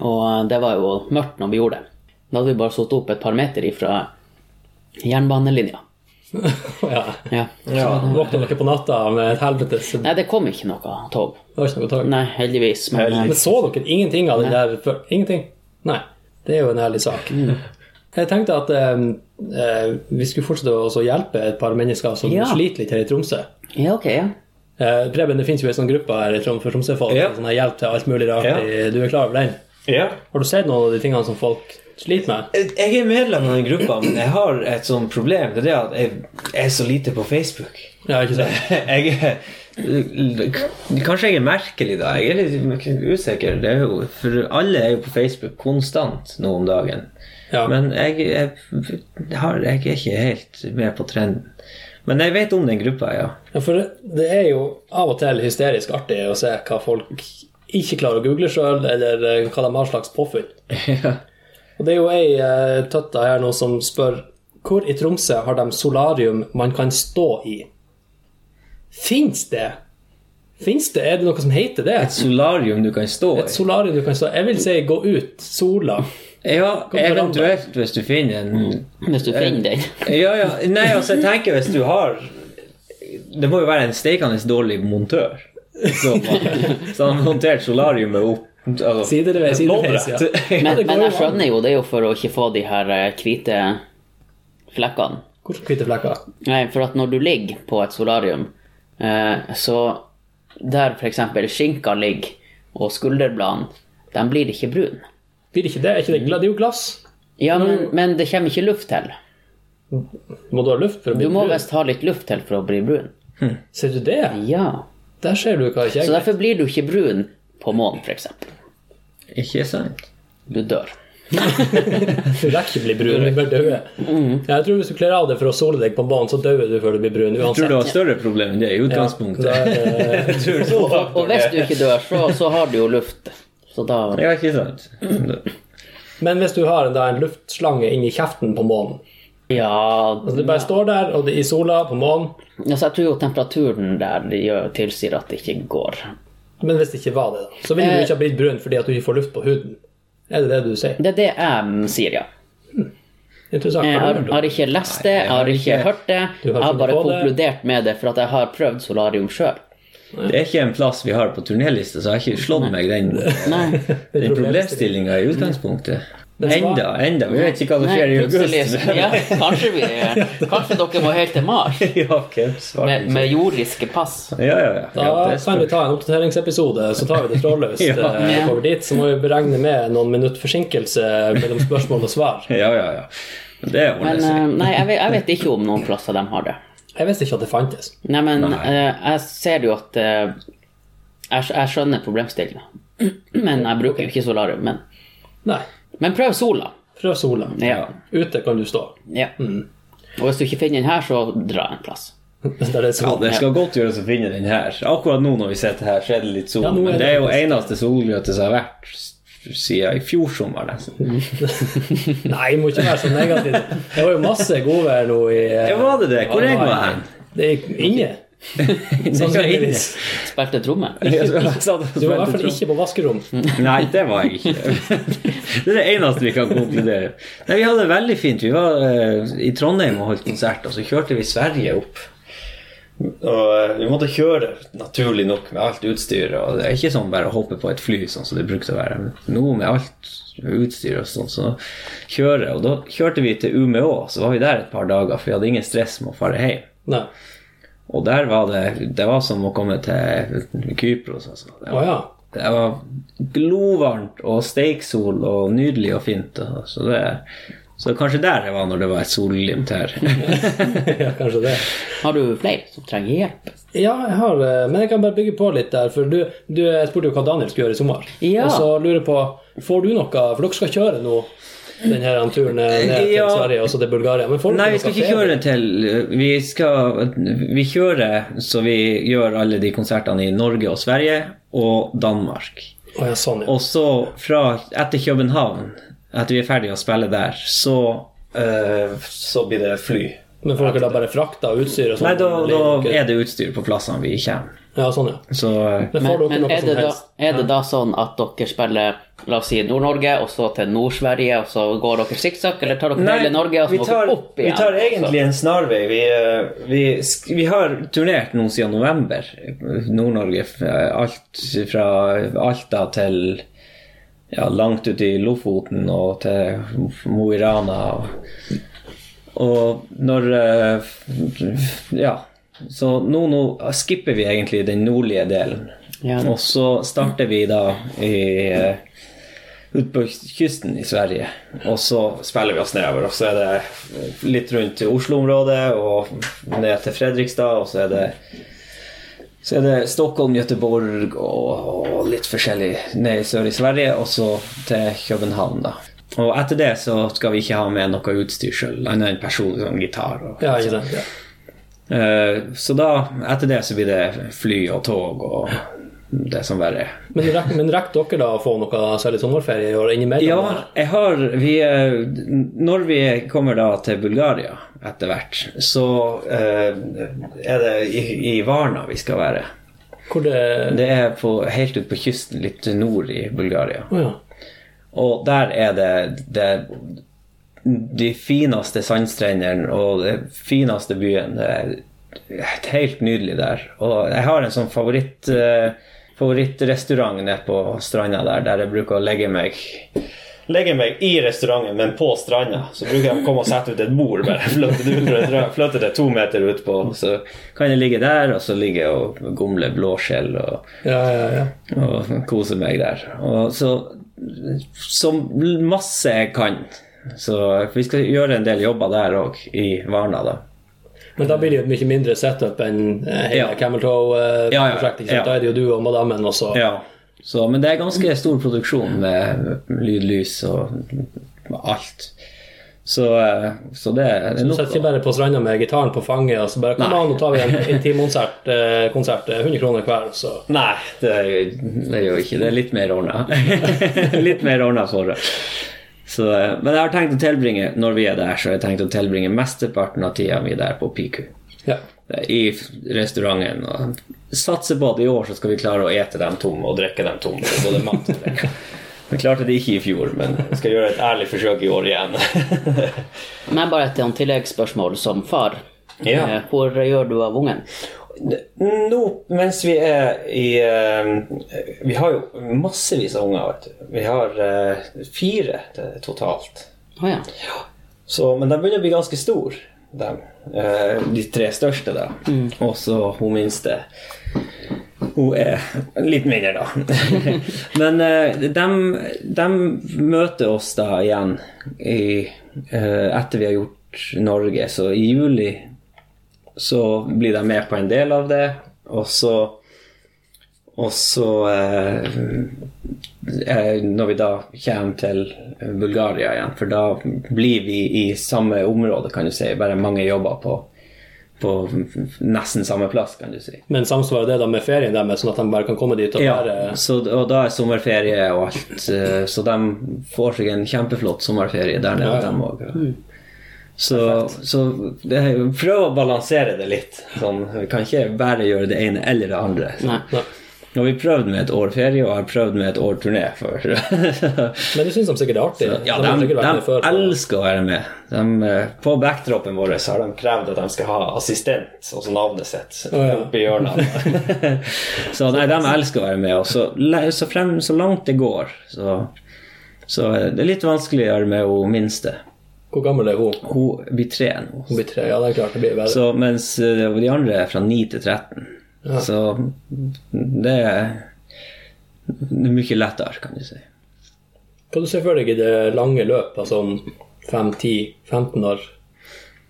[SPEAKER 2] og det var jo mørkt når vi gjorde det. Da hadde vi bare satt opp et par meter ifra jernbanelinja.
[SPEAKER 1] Ja.
[SPEAKER 2] Ja.
[SPEAKER 1] Ja. Våkna dere på natta med et helvetes Det
[SPEAKER 2] Nei, det kom ikke noe tog.
[SPEAKER 1] var ikke noe tak.
[SPEAKER 2] Nei, heldigvis. Men eh,
[SPEAKER 3] Heldigvis.
[SPEAKER 1] Men så dere ingenting av den der før? Ingenting? Nei. Det er jo en ærlig sak. Jeg tenkte at eh, eh, vi skulle fortsette å også hjelpe et par mennesker som
[SPEAKER 2] Ja.
[SPEAKER 1] sliter litt her i Tromsø.
[SPEAKER 2] ja, ok, ja.
[SPEAKER 1] Eh, Preben, det finnes jo en sånn gruppe her i Trom for Tromsø-folk
[SPEAKER 3] Ja.
[SPEAKER 1] som har hjelp til alt mulig rart.
[SPEAKER 3] Ja.
[SPEAKER 1] i- Du er klar over den?
[SPEAKER 3] Ja.
[SPEAKER 1] Har du sett noen av de tingene som folk sliter med?
[SPEAKER 3] Jeg er medlem av den gruppa, men jeg har et sånt problem. Det er det at jeg er så lite på Facebook.
[SPEAKER 1] Ja, ikke sant?
[SPEAKER 3] jeg er- Kanskje jeg er merkelig, da. Jeg er litt usikker. Det er jo, for alle er jo på Facebook konstant nå om dagen.
[SPEAKER 1] Ja.
[SPEAKER 3] Men jeg, jeg, har, jeg er ikke helt med på trenden. Men jeg vet om den gruppa, ja.
[SPEAKER 1] Ja, for det- det er jo av og til hysterisk artig å se hva folk ikke klarer å google sjøl, eller eh, hva de har slags påfunn. Og det er jo ei eh, tøtta her nå som spør hvor i Tromsø har de solarium man kan stå i? Fins det? Fins det? Er det noe som heter det?
[SPEAKER 3] Et solarium du kan stå
[SPEAKER 1] Et
[SPEAKER 3] i.
[SPEAKER 1] solarium du kan stå Jeg vil si gå ut sola.
[SPEAKER 3] Ja,
[SPEAKER 1] på Mm. verandaen.
[SPEAKER 3] eventuelt hvis du finner en
[SPEAKER 2] Hvis du finner den.
[SPEAKER 3] Ja, ja. Nei, altså, jeg tenker hvis du har Det må jo være en steikende dårlig montør. Så, så han monterte solariumet opp. Altså,
[SPEAKER 1] Sideveis, sideveis, ja.
[SPEAKER 3] lodrett.
[SPEAKER 1] Ja,
[SPEAKER 2] Men,
[SPEAKER 1] det går
[SPEAKER 2] men
[SPEAKER 1] jo
[SPEAKER 2] jeg
[SPEAKER 1] an.
[SPEAKER 2] skjønner jo, det er jo for å ikke få de her eh, hvite flekkene.
[SPEAKER 1] Hvor hvite flekker?
[SPEAKER 2] Nei, for at når du ligger på et solarium, eh, så der f.eks. skinka ligger, og skulderbladene, de blir ikke brune.
[SPEAKER 1] Blir det ikke det? Er ikke det, gla- det er jo glass.
[SPEAKER 2] Ja, men, men det kommer ikke luft til.
[SPEAKER 1] Må du ha luft for å bli
[SPEAKER 2] Du må
[SPEAKER 1] brun?
[SPEAKER 2] visst ha litt luft til for å bli brun.
[SPEAKER 1] Ser du det?
[SPEAKER 2] Ja.
[SPEAKER 1] Der ser du hva ikke
[SPEAKER 2] Så
[SPEAKER 1] jeg
[SPEAKER 2] derfor blir du ikke brun på månen, f.eks.
[SPEAKER 3] Ikke sant?
[SPEAKER 2] Du dør.
[SPEAKER 1] Du rekker å bli brun, du bare døde. Jeg tror hvis du kler av deg for å sole deg på banen, så dør du før du blir brun
[SPEAKER 3] Jeg tror
[SPEAKER 1] uansett. eh,
[SPEAKER 3] du har større problem enn det i utgangspunktet.
[SPEAKER 1] Da er det-
[SPEAKER 3] Jeg tror så
[SPEAKER 2] Og hvis du ikke dør, så, så har du jo luft. Så da
[SPEAKER 3] Ja, ikke sant?
[SPEAKER 1] Men hvis du har en, da, en luftslange inni kjeften på månen,
[SPEAKER 2] Ja,
[SPEAKER 1] Altså, det bare står der, og det er i sola, på månen.
[SPEAKER 2] altså jeg tror jo temperaturen der det gjør, tilsier at det ikke går.
[SPEAKER 1] Men hvis det ikke var det, da, så ville du
[SPEAKER 2] Eh.
[SPEAKER 1] ikke ha blitt brun fordi at du ikke får luft på huden. Er det det du sier?
[SPEAKER 2] Det er det jeg sier, ja.
[SPEAKER 1] Interessant.
[SPEAKER 2] Jeg
[SPEAKER 1] Har
[SPEAKER 2] har,
[SPEAKER 1] du hørt om
[SPEAKER 2] har
[SPEAKER 1] det?
[SPEAKER 2] ikke lest det, jeg har ikke hørt det.
[SPEAKER 1] Du har
[SPEAKER 2] Jeg har
[SPEAKER 1] funnet
[SPEAKER 2] bare
[SPEAKER 1] på det.
[SPEAKER 2] konkludert med det, for at jeg har prøvd solarium sjøl.
[SPEAKER 3] Det er ikke en plass vi har på turnéliste, så jeg har ikke slått meg den, den problemstillinga i utgangspunktet.
[SPEAKER 1] Men så-
[SPEAKER 3] Enda, enda. Vi vet ikke hva som skjer i august.
[SPEAKER 2] Ja, kanskje, vi, kanskje dere må helt til Mars
[SPEAKER 3] ja, hvem svarer
[SPEAKER 2] med,
[SPEAKER 3] ikke?
[SPEAKER 2] med jordiske pass.
[SPEAKER 3] Ja, ja, ja. ja
[SPEAKER 1] Da
[SPEAKER 3] det er
[SPEAKER 1] kan vi
[SPEAKER 3] stort.
[SPEAKER 1] ta en oppdateringsepisode, så tar vi det trådløst
[SPEAKER 3] Ja.
[SPEAKER 1] eh,
[SPEAKER 2] Ja.
[SPEAKER 1] over dit. Så må vi beregne med noen minutt forsinkelse mellom spørsmål og svar.
[SPEAKER 3] ja, ja, ja. Men det ordner
[SPEAKER 2] Men
[SPEAKER 3] seg.
[SPEAKER 2] eh, nei, jeg vet, jeg vet ikke om noen plasser de har det.
[SPEAKER 1] Jeg visste ikke at det fantes.
[SPEAKER 2] Nei, men
[SPEAKER 3] Nei.
[SPEAKER 2] eh, jeg ser jo at eh, jeg, skj- jeg skjønner problemstillinga. Men jeg bruker jo ikke solarium. Men,
[SPEAKER 1] Nei.
[SPEAKER 2] men prøv sola.
[SPEAKER 1] Prøv sola.
[SPEAKER 2] Ja.
[SPEAKER 1] Ute kan du stå.
[SPEAKER 2] ja. Og hvis du ikke finner den her, så dra en plass.
[SPEAKER 1] Der det er
[SPEAKER 3] Ja,
[SPEAKER 1] sol.
[SPEAKER 3] det skal godt gjøres å finne den her. Akkurat nå når vi sitter her, så er det litt sol.
[SPEAKER 1] Ja, nå er
[SPEAKER 3] men
[SPEAKER 1] det
[SPEAKER 3] det er jo eneste solgløte som har vært s- siden i fjor sommer, nesten.
[SPEAKER 1] Nei, må ikke være så negativ. Det var jo masse godvær nå i eh,
[SPEAKER 3] Ja, var det det? Hvor jeg var hen?
[SPEAKER 1] Det gikk inne. Sannsynligvis.
[SPEAKER 2] Spilte tromme.
[SPEAKER 1] Du var i hvert fall ikke på vaskerom.
[SPEAKER 3] Nei, det var jeg ikke. Det er det eneste vi kan konkludere. Nei, Vi hadde det veldig fint. Vi var eh, i Trondheim og holdt konsert, og så kjørte vi Sverige opp. Og eh, vi måtte kjøre naturlig nok med alt utstyret. Og det er ikke sånn bare å hoppe på et fly, sånn som det brukte å være. Men nå med alt utstyr og sånn, så kjøre. Og da kjørte vi til Umeå, så var vi der et par dager, for vi hadde ingen stress med å fare hjem.
[SPEAKER 1] Nei.
[SPEAKER 3] Og der var det Det var som å komme til Kypros. Altså. Det
[SPEAKER 1] Å
[SPEAKER 3] var
[SPEAKER 1] ja.
[SPEAKER 3] det var glovarmt og steiksol og nydelig og fint. og Så det, så kanskje der jeg var når det var et solglimt her.
[SPEAKER 1] ja. Kanskje det.
[SPEAKER 2] Har du flere som trenger hjelp?
[SPEAKER 1] Ja, jeg har eh, Men jeg kan bare bygge på litt der, for du, du spurte jo hva Daniel skulle gjøre i sommer.
[SPEAKER 2] Ja.
[SPEAKER 1] Og så lurer jeg på Får du noe For dere skal kjøre nå denne turen eh, ned til
[SPEAKER 3] Ja.
[SPEAKER 1] Sverige og så til Bulgaria. Men får dere
[SPEAKER 3] Nei, vi
[SPEAKER 1] noe
[SPEAKER 3] skal ikke
[SPEAKER 1] ferie?
[SPEAKER 3] kjøre til Vi skal Vi kjører så vi gjør alle de konsertene i Norge og Sverige og Danmark.
[SPEAKER 1] Å ja, sånn, ja.
[SPEAKER 3] Og så fra etter København, etter vi er ferdige å spille der, så eh, Så blir det fly.
[SPEAKER 1] Men får dere da bare frakta og utstyr og sånn?
[SPEAKER 3] Nei, da, da
[SPEAKER 1] Eller-
[SPEAKER 3] er det utstyr på plassene vi kommer.
[SPEAKER 1] Ja, sånn, ja.
[SPEAKER 3] Så eh,
[SPEAKER 1] Men får
[SPEAKER 2] Men,
[SPEAKER 1] dere
[SPEAKER 2] men
[SPEAKER 1] noe
[SPEAKER 2] er, det
[SPEAKER 1] som
[SPEAKER 2] da,
[SPEAKER 1] helst?
[SPEAKER 2] er det da sånn at dere spiller La oss si Nord-Norge, og så til Nord-Sverige, og så går dere sikksakk, eller tar dere hele Norge og så
[SPEAKER 3] vi
[SPEAKER 2] går
[SPEAKER 3] tar,
[SPEAKER 2] dere opp igjen? altså.
[SPEAKER 3] Vi tar egentlig en snarvei. Vi, eh, vi, sk- vi har turnert nå siden november. Nord-Norge. f- eh, Alt fra Alta til ja, langt ut i Lofoten og til Mo i Rana. Og, og når eh, f- Ja. Så nå, nå skipper vi egentlig den nordlige delen.
[SPEAKER 2] Ja.
[SPEAKER 3] Og så starter vi da i eh, ut på kysten i Sverige. Og så spiller vi oss nedover. Og så er det litt rundt Oslo-området og ned til Fredrikstad. Og så er det, så er det Stockholm, Göteborg og, og litt forskjellig ned i sør i Sverige. Og så til København, da. Og etter det så skal vi ikke ha med noe utstyr sjøl, annet enn personlig sånn gitar. Og,
[SPEAKER 1] Ja, ikke sant. Ja.
[SPEAKER 3] Eh, så da, etter det så blir det fly og tog og det som verre er.
[SPEAKER 1] Men rekker men rekk dere da å få noe særlig sommerferie i år innimellom?
[SPEAKER 3] Ja,
[SPEAKER 1] der?
[SPEAKER 3] jeg har vi, eh, Når vi kommer da til Bulgaria etter hvert, så eh, er det i, i Varna vi skal være.
[SPEAKER 1] Hvor det
[SPEAKER 3] Det er på, helt ute på kysten, litt nord i Bulgaria.
[SPEAKER 1] Å ja.
[SPEAKER 3] Og der er det, det de fineste sandstrendene og den fineste byen. Det er helt nydelig der. Og jeg har en sånn favoritt, eh, favorittrestaurant nede på stranda der, der jeg bruker å legge meg. Legge meg i restauranten, men på stranda. Så bruker jeg å komme og sette ut et bord. bare Flytte det, ut fra restauranten, flytte det to meter utpå. Så kan jeg ligge der, og så ligger jeg og gomler blåskjell. og
[SPEAKER 1] Ja, ja, ja.
[SPEAKER 3] og kose meg der. Og så, så masse jeg kan. Så vi skal gjøre en del jobber der òg, i Varna, da.
[SPEAKER 1] Men da blir det jo et mye mindre setup enn eh, hele
[SPEAKER 3] Ja.
[SPEAKER 1] Camel Toe-prosjektet.
[SPEAKER 3] Ja, ja,
[SPEAKER 1] ikke sant?
[SPEAKER 3] ja.
[SPEAKER 1] Da er det jo du og madammen også.
[SPEAKER 3] Ja. Så, men det er ganske stor produksjon med lyd, lys og alt. Så, eh, så det er
[SPEAKER 1] Du
[SPEAKER 3] nok.
[SPEAKER 1] setter ikke bare på stranda med gitaren på fanget og så bare Kom
[SPEAKER 3] Nei.
[SPEAKER 1] an, nå tar vi en intimkonsert. Eh, konsert, eh, 100 kroner hver, så
[SPEAKER 3] Nei, det er, jo- det er jo ikke det. er Litt mer ordna. litt mer ordna forhold. Så, eh, men jeg har tenkt å tilbringe når vi er der, så har jeg tenkt å tilbringe mesteparten av tida mi der på Piku.
[SPEAKER 1] Ja.
[SPEAKER 3] I f- restauranten. Og satser på at i år så skal vi klare å ete dem tomme og drikke dem tomme. Både mat og drikke. Vi klarte det ikke i fjor, men jeg skal gjøre et ærlig forsøk i år igjen.
[SPEAKER 2] Men bare et sånn tilleggsspørsmål som far.
[SPEAKER 3] Ja.
[SPEAKER 2] Eh, Hvor gjør du av ungen?
[SPEAKER 3] Nå mens vi er i eh, Vi har jo massevis av unger, vet du. Vi har eh, fire t- totalt.
[SPEAKER 2] Å ja.
[SPEAKER 3] Så, men de begynner å bli ganske store, dem. Eh, de tre største, da. Og så hun minste. Hun er litt mindre, da. men eh, de, de møter oss da igjen i, eh, etter vi har gjort Norge. Så i juli så blir de med på en del av det, og så og så eh, eh, Når vi da kommer til Bulgaria igjen, for da blir vi i samme område, kan du si. Bare mange jobber på, på nesten samme plass, kan du si.
[SPEAKER 1] Men samsvarer det da med ferien deres, sånn at de bare kan komme dit og
[SPEAKER 3] Ja,
[SPEAKER 1] være
[SPEAKER 3] så, og da er sommerferie og alt, eh, så de får seg en kjempeflott sommerferie der nede,
[SPEAKER 1] Ja, ja.
[SPEAKER 3] dem òg. Så, så det er jo- prøv å balansere det litt. Sånn, vi kan ikke bare gjøre det ene eller det andre.
[SPEAKER 2] Nei.
[SPEAKER 3] Nå har vi prøvd med et år ferie, og jeg har prøvd med et år turné før.
[SPEAKER 1] Men de syns de sikkert det er artig.
[SPEAKER 3] ja,
[SPEAKER 1] har
[SPEAKER 3] de,
[SPEAKER 1] sikkert vært med
[SPEAKER 3] de
[SPEAKER 1] før, så-
[SPEAKER 3] elsker å være med. De, eh, på backdropen vår så har de krevd at de skal ha assistent, altså navnet sitt,
[SPEAKER 1] ja.
[SPEAKER 3] oppe i hjørnet. så nei, de elsker å være med, og så, le- så, frem, så langt det går, så, så eh, det er litt vanskeligere med hun minste.
[SPEAKER 1] Hvor gammel er hun?
[SPEAKER 3] Hun blir tre nå.
[SPEAKER 1] Hun blir tre, ja det er klart det blir bedre.
[SPEAKER 3] Så, mens eh, de andre er fra 9 til 13. Så det er, det er mye lettere, kan du si.
[SPEAKER 1] Hva du ser for deg i det lange løp, altså om 5-10-15 år?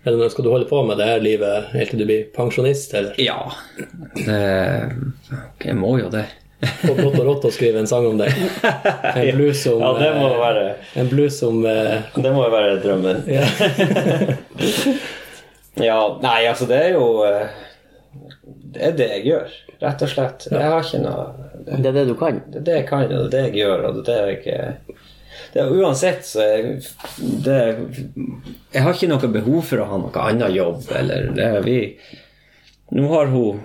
[SPEAKER 1] Eller når skal du holde på med det her livet helt til du blir pensjonist, eller?
[SPEAKER 3] Ja. Det, jeg må jo det.
[SPEAKER 1] På blått og rått å skrive en sang om det. En blues om, eh,
[SPEAKER 3] være,
[SPEAKER 1] en blues om eh,
[SPEAKER 3] det må jo være drømmen.
[SPEAKER 1] ja.
[SPEAKER 3] Ja, nei, altså det er jo eh, Det er det jeg gjør, rett og slett. Jeg har ikke noe Det
[SPEAKER 2] Det er det du kan?
[SPEAKER 3] det er det jeg kan, og det er det jeg gjør, og det er det jeg eh, det er, Uansett så jeg, det, jeg har ikke noe behov for å ha noe annen jobb, eller det er vi Nå har hun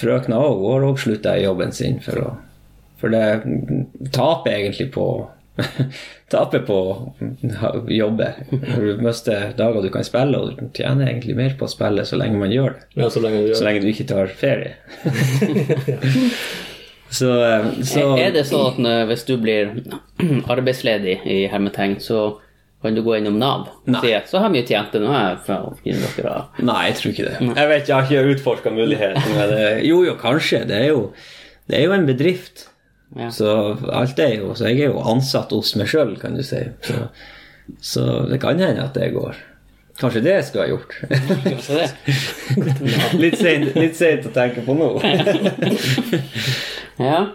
[SPEAKER 3] frøkna òg, hun har òg slutta i jobben sin for å For det taper egentlig på Taper på å jobbe. Du mister dager du kan spille, og du tjener egentlig mer på å spille så lenge man gjør det.
[SPEAKER 1] ja, så lenge du
[SPEAKER 3] Så
[SPEAKER 1] gjør det.
[SPEAKER 3] lenge du ikke tar ferie. så, eh, så
[SPEAKER 2] Er det sånn at når- hvis du blir arbeidsledig i hermetegn, så kan du gå innom Nav og
[SPEAKER 3] Nei.
[SPEAKER 2] si at så har vi jo tjent det, nå er jeg fra å gi dere av.
[SPEAKER 3] Nei, jeg tror ikke det. Jeg vet, jeg har ikke utforska muligheten. Men det, jo, jo, kanskje. Det er jo, det er jo en bedrift.
[SPEAKER 2] Ja.
[SPEAKER 3] Så alt er jo Så jeg er jo ansatt hos meg sjøl, kan du si. Så, så det kan hende at det går. Kanskje det jeg skulle ha gjort.
[SPEAKER 2] Så det.
[SPEAKER 3] litt seint litt sent å tenke på nå.
[SPEAKER 2] Ja.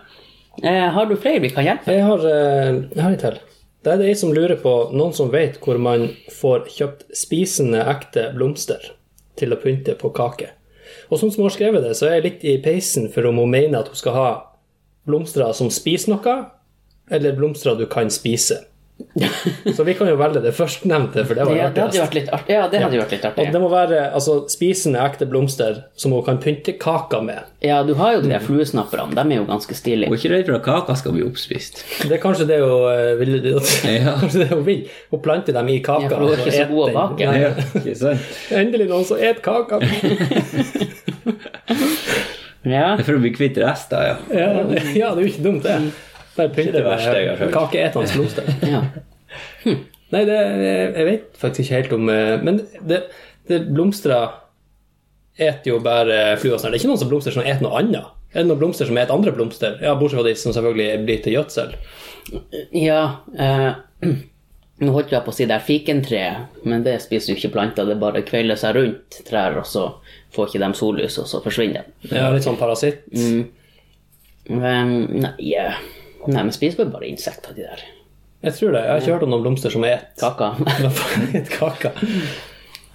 [SPEAKER 2] Eh, har du flere vi kan hjelpe?
[SPEAKER 1] Jeg har, eh, jeg har en til. Det er det jeg som lurer på, noen som vet hvor man får kjøpt spisende ekte blomster til å pynte på kake. Og sånn som hun har skrevet det, så er jeg litt i peisen for om hun mener at hun skal ha blomster som spiser noe, eller blomster du kan spise. Så vi kan jo velge det førstnevnte, for det var
[SPEAKER 2] Ja, det hadde jo
[SPEAKER 1] artigst.
[SPEAKER 2] vært litt artig. Ja, det hadde jo vært litt
[SPEAKER 1] Og
[SPEAKER 2] artig.
[SPEAKER 1] det må være altså, spisende ekte blomster som hun kan pynte kaka med.
[SPEAKER 2] Ja, du har jo de der fluesnapperne. De er jo ganske
[SPEAKER 3] Jeg
[SPEAKER 2] stilige.
[SPEAKER 3] er ikke redd for at kaka skal bli oppspist.
[SPEAKER 1] Det er kanskje det hun eh, vil.
[SPEAKER 3] Ja.
[SPEAKER 1] Kanskje det hun vil. Hun planter dem i kaka.
[SPEAKER 2] Ja, for hun er
[SPEAKER 1] og
[SPEAKER 2] ikke så
[SPEAKER 1] eter
[SPEAKER 2] god å
[SPEAKER 1] den.
[SPEAKER 2] bake.
[SPEAKER 1] Nei.
[SPEAKER 3] Ja, ikke sant?
[SPEAKER 1] Endelig noen som et kaka.
[SPEAKER 2] Ja.
[SPEAKER 3] Det er For å bli kvitt rester, ja.
[SPEAKER 1] Ja, ja, det er jo ikke dumt, det. Bare
[SPEAKER 3] Ikke
[SPEAKER 1] pynte
[SPEAKER 3] det verste jeg har
[SPEAKER 1] med
[SPEAKER 3] hørt.
[SPEAKER 1] kakeetende blomster.
[SPEAKER 2] ja. Hm.
[SPEAKER 1] Nei, det, jeg vet faktisk ikke helt om eh, Men det, det blomstrer eter jo bare fluesnarr. Det er ikke noen som blomster som eter noe annet. Er det noen blomster som eter andre blomster? Ja, Bortsett fra de som selvfølgelig blir til gjødsel.
[SPEAKER 2] ja eh, nå holdt jeg på å si det er fikentreet, men det spiser jo ikke planter. Det bare kveiler seg rundt trær, og så får ikke de sollys, og så forsvinner de.
[SPEAKER 1] Ja, litt sånn parasitt.
[SPEAKER 3] Mm.
[SPEAKER 2] Men, nei, eh, nei, men spiser vel bare insekter, de der.
[SPEAKER 1] Jeg tror det. Jeg har ikke hørt om noen blomster som eter
[SPEAKER 2] Kaka.
[SPEAKER 1] Et kaka.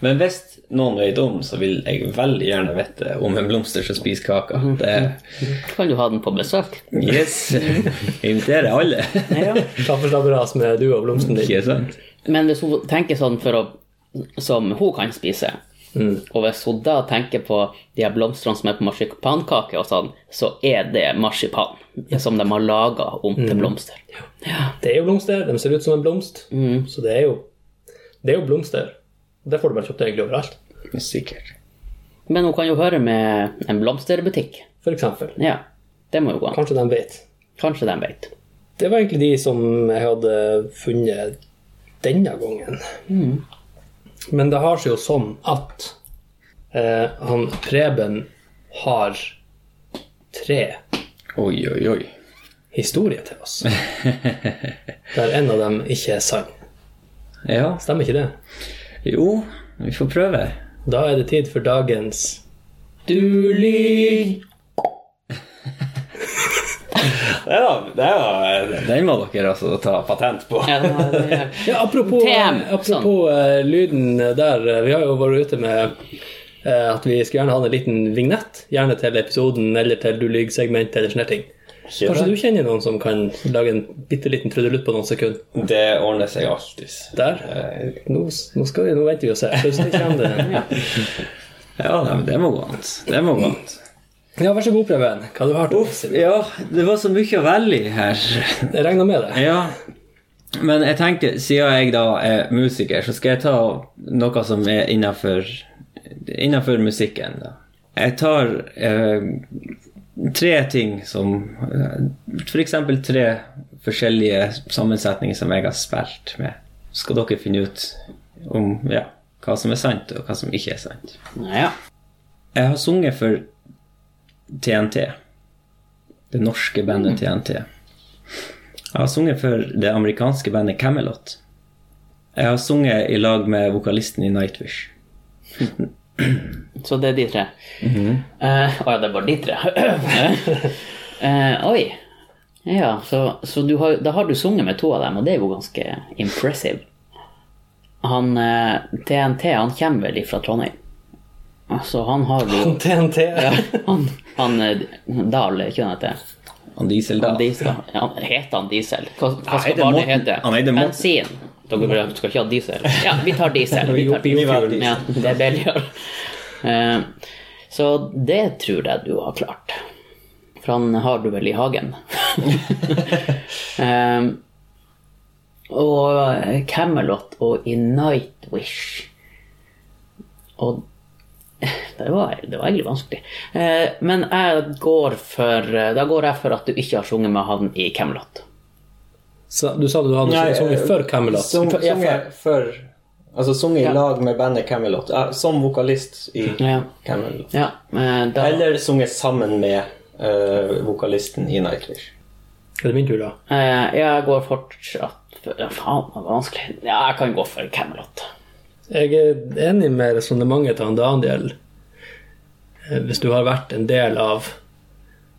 [SPEAKER 3] Men hvis noen vet om, så vil jeg veldig gjerne vite om en blomster som spiser kaker. Det
[SPEAKER 2] Kan du ha den på besøk?
[SPEAKER 3] Yes. Jeg inviterer alle.
[SPEAKER 1] Kaffeslabberas med du og blomsten din.
[SPEAKER 3] Ikke sant?
[SPEAKER 2] Men hvis hun tenker sånn for å, som hun kan spise, og hvis hun da tenker på de her blomstene som er på marsipankake og sånn, så er det marsipan som de har laga om til blomster.
[SPEAKER 1] Det er jo blomster. De ser ut som en blomst. Så det er jo Det er jo blomster. Det får du vel kjøpt egentlig overalt.
[SPEAKER 3] Sikkert.
[SPEAKER 2] Men hun kan jo høre med en blomsterbutikk.
[SPEAKER 1] For eksempel.
[SPEAKER 2] Ja, det må jo gå an.
[SPEAKER 1] Kanskje de vet.
[SPEAKER 2] Kanskje de vet.
[SPEAKER 1] Det var egentlig de som jeg hadde funnet denne gangen. Men det har seg jo sånn at eh, han Preben har tre
[SPEAKER 3] Oi, oi, oi.
[SPEAKER 1] historier til oss. Der en av dem ikke er sann.
[SPEAKER 3] Ja.
[SPEAKER 1] Stemmer ikke det?
[SPEAKER 3] Jo, vi får prøve.
[SPEAKER 1] Da er det tid for dagens
[SPEAKER 2] Du lyver!
[SPEAKER 3] Det var, det var, den må dere altså ta patent på.
[SPEAKER 2] Ja, det er-
[SPEAKER 1] Ja, apropos,
[SPEAKER 2] Tem,
[SPEAKER 4] sånn.
[SPEAKER 1] apropos eh, lyden der. eh, Vi har jo vært ute med eh, at vi skulle gjerne ha en liten vignett. Gjerne til episoden eller til du lyver-segmentet eller sånne ting. Kanskje du kjenner noen som kan lage en bitte liten trudelutt på noen sekunder?
[SPEAKER 3] Det ordner seg alltid.
[SPEAKER 1] Der.
[SPEAKER 3] Eh,
[SPEAKER 1] Nå, s- nå, skal vi, nå venter vi og ser. Plutselig kommer det.
[SPEAKER 3] Ja, nei, men det må gå an. Det må gå an.
[SPEAKER 1] Ja, vær så god, Preben. Hva du har til oss?
[SPEAKER 3] Ja, det var så mye å velge i her.
[SPEAKER 1] Jeg regner med det.
[SPEAKER 3] Ja, men jeg tenkte, siden jeg da er musiker, så skal jeg ta noe som er innenfor, innenfor musikken. Da. Jeg tar eh, tre ting som eh, For eksempel tre forskjellige sammensetninger som jeg har spilt med. Så skal dere finne ut om ja, hva som er sant, og hva som ikke er sant.
[SPEAKER 2] ja.
[SPEAKER 3] Jeg har sunget for TNT. Det norske
[SPEAKER 4] Mm.
[SPEAKER 3] bandet TNT. Jeg har sunget for det amerikanske bandet Camelot. Jeg har sunget i lag med vokalisten i Nightwish.
[SPEAKER 2] Så det er de tre.
[SPEAKER 3] Mhm.
[SPEAKER 2] Eh, Å ja, det er bare de tre. Eh, oi. Ja, så, så du har, da har du sunget med to av dem, og det er jo ganske impressive. Han eh, TNT, han kommer vel ifra Trondheim. Så han har jo
[SPEAKER 1] TNT.
[SPEAKER 2] Han, han eh, Dahl, er ikke han heter?
[SPEAKER 3] Han Diesel da.
[SPEAKER 2] Han Diesel. Ja, heter han Diesel? Hva, hva
[SPEAKER 3] Nei,
[SPEAKER 2] skal
[SPEAKER 3] det
[SPEAKER 2] barnet
[SPEAKER 3] må-
[SPEAKER 2] hete?
[SPEAKER 3] Nei, det må-
[SPEAKER 2] Bensin. Dere skal ikke ha diesel? Ja, vi tar diesel. Vi tar
[SPEAKER 1] Vi var
[SPEAKER 2] Ja, det er billigere. Eh, Så det tror jeg du har klart. For han har du vel i hagen. Eh, og Camelot og i Nightwish Og det var, det var egentlig vanskelig. Eh, men jeg går for Da går jeg for at du ikke har sunget med han i Camelot.
[SPEAKER 1] Så, du sa du hadde
[SPEAKER 4] Nei,
[SPEAKER 1] sunget
[SPEAKER 4] eh,
[SPEAKER 1] før Camelot.
[SPEAKER 4] Sung,
[SPEAKER 2] For- ja,
[SPEAKER 4] sunget for Altså sunget
[SPEAKER 2] Ja.
[SPEAKER 4] i lag med bandet Camelot. eh, som vokalist i
[SPEAKER 2] Ja.
[SPEAKER 4] Camelot.
[SPEAKER 2] Ja, eh, da,
[SPEAKER 4] Eller sunget sammen med eh, vokalisten i Nightwish.
[SPEAKER 1] Er det min tur, da?
[SPEAKER 2] eh, jeg går fortsatt for, ja, Faen, det var vanskelig. Ja, jeg kan gå for Camelot.
[SPEAKER 1] Jeg er enig med resonnementet til han Daniel. Eh, Hvis du har vært en del av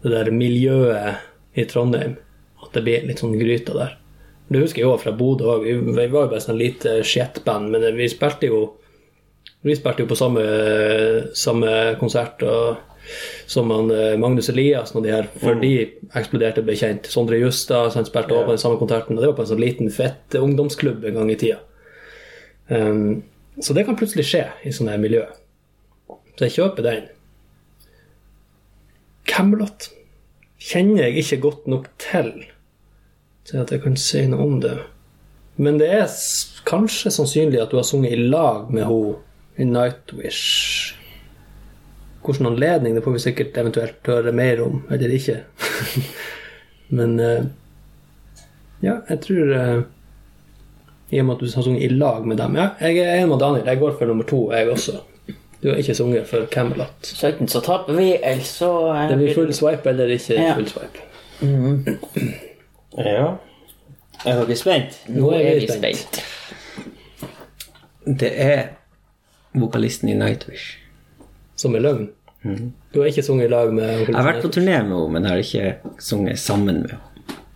[SPEAKER 1] det der miljøet i Trondheim, at det blir litt sånn gryta der. Det husker jeg òg fra Bodø òg. Vi vi var jo bare sånn lite shitband, men vi spilte jo vi spilte jo på samme, samme konsert og, som han, eh, Magnus Eliassen og de her, før de eksploderte og ble kjent. Sondre Justad så han spilte også på den samme konserten, og det var på en sånn liten, fett ungdomsklubb en gang i tida. Um, så det kan plutselig skje i sånne her miljø. Så jeg kjøper den. Camelot kjenner jeg ikke godt nok til til at jeg kan si noe om det. Men det er s- kanskje sannsynlig at du har sunget i lag med henne i Nightwish. Hvilken anledning, det får vi sikkert eventuelt høre mer om, eller ikke. Men eh, ja, jeg tror eh, i og med at du har sunget i lag med dem. Ja, jeg er enig med Daniel. Jeg går for nummer to, jeg også. Du har ikke sunget for Camelot.
[SPEAKER 2] Så enten så taper vi, eller så eh,
[SPEAKER 1] Det blir full swipe eller ikke
[SPEAKER 2] Ja.
[SPEAKER 1] full swipe.
[SPEAKER 4] Ja. Er dere spent?
[SPEAKER 1] Nå
[SPEAKER 2] Nå
[SPEAKER 1] er vi spent.
[SPEAKER 3] Det er vokalisten i Nightwish.
[SPEAKER 1] Som er løgn. Du har ikke sunget i lag med
[SPEAKER 3] Jeg har vært på turné med henne, men jeg har ikke sunget sammen med henne.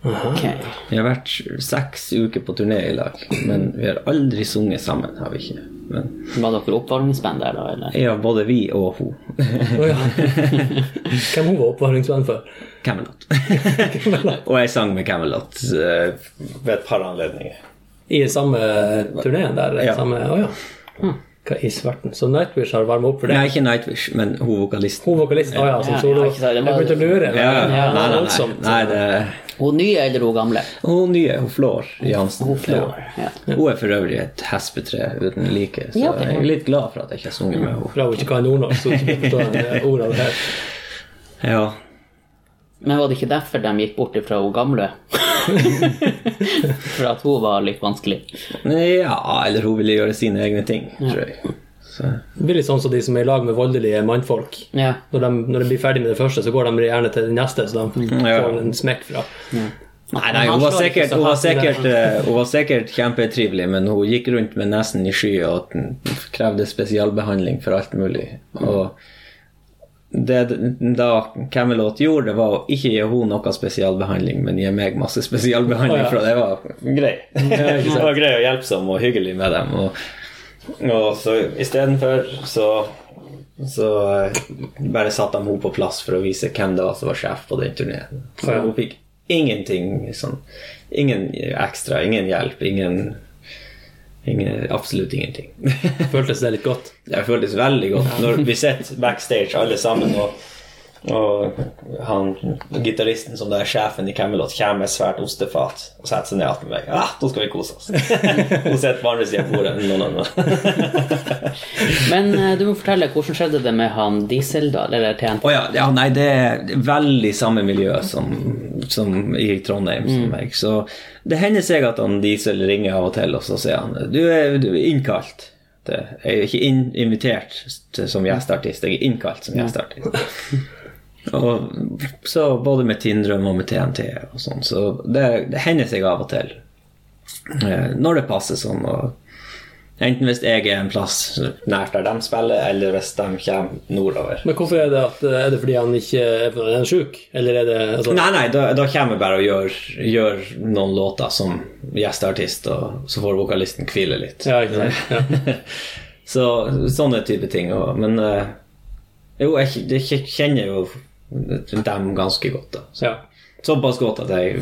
[SPEAKER 2] Ok.
[SPEAKER 3] Vi har vært seks uker på turné i lag, men vi har aldri sunget sammen. har vi ikke. Men
[SPEAKER 2] Var dere oppvarmingsband der, da? Eller?
[SPEAKER 3] ja, både vi og hun.
[SPEAKER 1] Å ja. Hvem hun var oppvaringsvenn for?
[SPEAKER 3] Camelot. og jeg sang med Camelot. eh,
[SPEAKER 4] Ved et par anledninger.
[SPEAKER 1] I samme turneen der?
[SPEAKER 3] Ja. Hm.
[SPEAKER 1] Samme, å ja. Hva i sverten? Så Nightwish har varmet opp for det?
[SPEAKER 3] Nei, ikke Nightwish, men hun vokalisten.
[SPEAKER 1] Hun vokalist? Å ja, som
[SPEAKER 2] Ja,
[SPEAKER 1] solo?
[SPEAKER 2] ja, ikke
[SPEAKER 1] jeg
[SPEAKER 2] sant, det var-
[SPEAKER 1] begynte å lure. men-
[SPEAKER 3] Ja, nei,
[SPEAKER 1] det var
[SPEAKER 3] nei, nei,
[SPEAKER 1] voldsomt.
[SPEAKER 3] nei det,
[SPEAKER 2] Hun nye eller hun gamle?
[SPEAKER 3] hun nye, hun Flår Jansen.
[SPEAKER 2] Hun Flår. Ja.
[SPEAKER 3] Ja. Hun er for øvrig et hespetre uten like, så
[SPEAKER 2] Ja, ok.
[SPEAKER 3] jeg er litt glad for at jeg ikke har sunget med henne.
[SPEAKER 1] Bra hun ikke kan nordnorsk, så hun ikke forstår eh, ordet av det her.
[SPEAKER 3] Ja,
[SPEAKER 2] Men var det ikke derfor de gikk bort fra hun gamle? For at hun var litt vanskelig.
[SPEAKER 3] ja, eller hun ville gjøre sine egne ting, tror jeg. Så.
[SPEAKER 1] Det blir litt sånn som de som er i lag med voldelige mannfolk.
[SPEAKER 2] Ja.
[SPEAKER 1] Når de, når de blir ferdig med det første, så går de gjerne til det neste, så de
[SPEAKER 3] Mm, Ja.
[SPEAKER 1] får en smekk fra.
[SPEAKER 3] Nei, nei,
[SPEAKER 2] Han
[SPEAKER 3] hun var
[SPEAKER 2] slår ikke
[SPEAKER 3] sikkert,
[SPEAKER 2] så
[SPEAKER 3] hun var
[SPEAKER 2] hardt i det.
[SPEAKER 3] sikkert, eh, hun var sikkert kjempetrivelig, men hun gikk rundt med nesen i sky og den krevde spesialbehandling for alt mulig. Og det d- da Camelot gjorde, det var å ikke gi henne noe spesialbehandling, men gi meg masse spesialbehandling,
[SPEAKER 1] Å, ja.
[SPEAKER 3] for det var grei.
[SPEAKER 1] ikke sant.
[SPEAKER 3] Det var grei og hjelpsom og hyggelig med dem. Og
[SPEAKER 4] Og så istedenfor så så eh,
[SPEAKER 3] bare satte de henne på plass for å vise hvem det var som var sjef på den turneen. Så
[SPEAKER 1] Ja.
[SPEAKER 3] hun fikk ingenting sånn Ingen ekstra, ingen hjelp, ingen, ingen Absolutt ingenting.
[SPEAKER 1] Føltes det litt godt?
[SPEAKER 3] Det føltes veldig godt. Når vi sitter
[SPEAKER 4] sitter backstage alle sammen og og han, gitaristen som da er sjefen i Camelot, kommer med et svært ostefat og setter seg ned attmed meg. Ja, ah, nå skal vi kose oss. Hun sitter på andre siden av bordet. No, no, no.
[SPEAKER 2] Men eh, du må fortelle, hvordan skjedde det med han Dieseldal, eller TNT?
[SPEAKER 3] Å ja, ja, nei, det er veldig samme miljø som, som i Trondheim som meg. Så det hender seg at han Diesel ringer av og til, og så sier han du er, du er innkalt. Til, jeg er ikke in invitert til, som gjesteartist, jeg er innkalt som gjesteartist. Og så både med Tindrøm og med TNT og sånn, så det, det hender seg av og til. Eh, Når det passer sånn. Og enten hvis jeg er en plass så-
[SPEAKER 4] Nært der de spiller, eller hvis de kommer nordover.
[SPEAKER 1] Men hvorfor er det at Er det fordi han ikke er, er han sjuk? Eller er det altså,
[SPEAKER 3] Nei, nei, da, da kommer jeg bare og gjør, gjør noen låter som gjesteartist, og så får vokalisten hvile litt.
[SPEAKER 1] Ja, ikke sant. Ja.
[SPEAKER 3] Så sånne type ting. Og, men eh, jo, jeg, kj- jeg kj- kjenner jo dem ganske godt, da.
[SPEAKER 1] Ja.
[SPEAKER 3] Såpass godt at jeg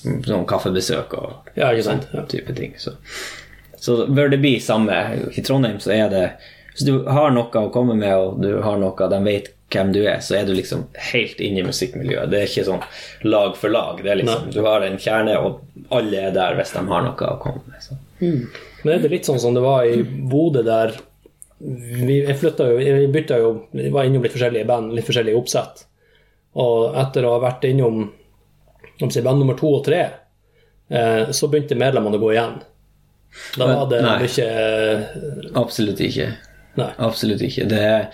[SPEAKER 3] Sånn kaffebesøk og
[SPEAKER 1] ja, ikke sant. Ja.
[SPEAKER 3] type ting. Så, så bør det bli samme. I Trondheim så er det Hvis du har noe å komme med, og du har noe de vet hvem du er, så er du liksom helt inne i musikkmiljøet. Det er ikke sånn lag for lag. Det er liksom, du har en kjerne, og alle er der hvis de har noe å komme med. Så.
[SPEAKER 1] Men er det litt sånn som det var i Bodø der vi, Jeg flytta jo, jeg bytta jo jeg Var innom litt forskjellige band, litt forskjellige oppsett. Og etter å ha vært innom om jeg sier, band nummer to og tre, eh, så begynte medlemmene å gå igjen. Da var det
[SPEAKER 3] Nei.
[SPEAKER 1] mye eh,
[SPEAKER 3] Absolutt ikke.
[SPEAKER 1] Nei.
[SPEAKER 3] Absolutt ikke. Det er,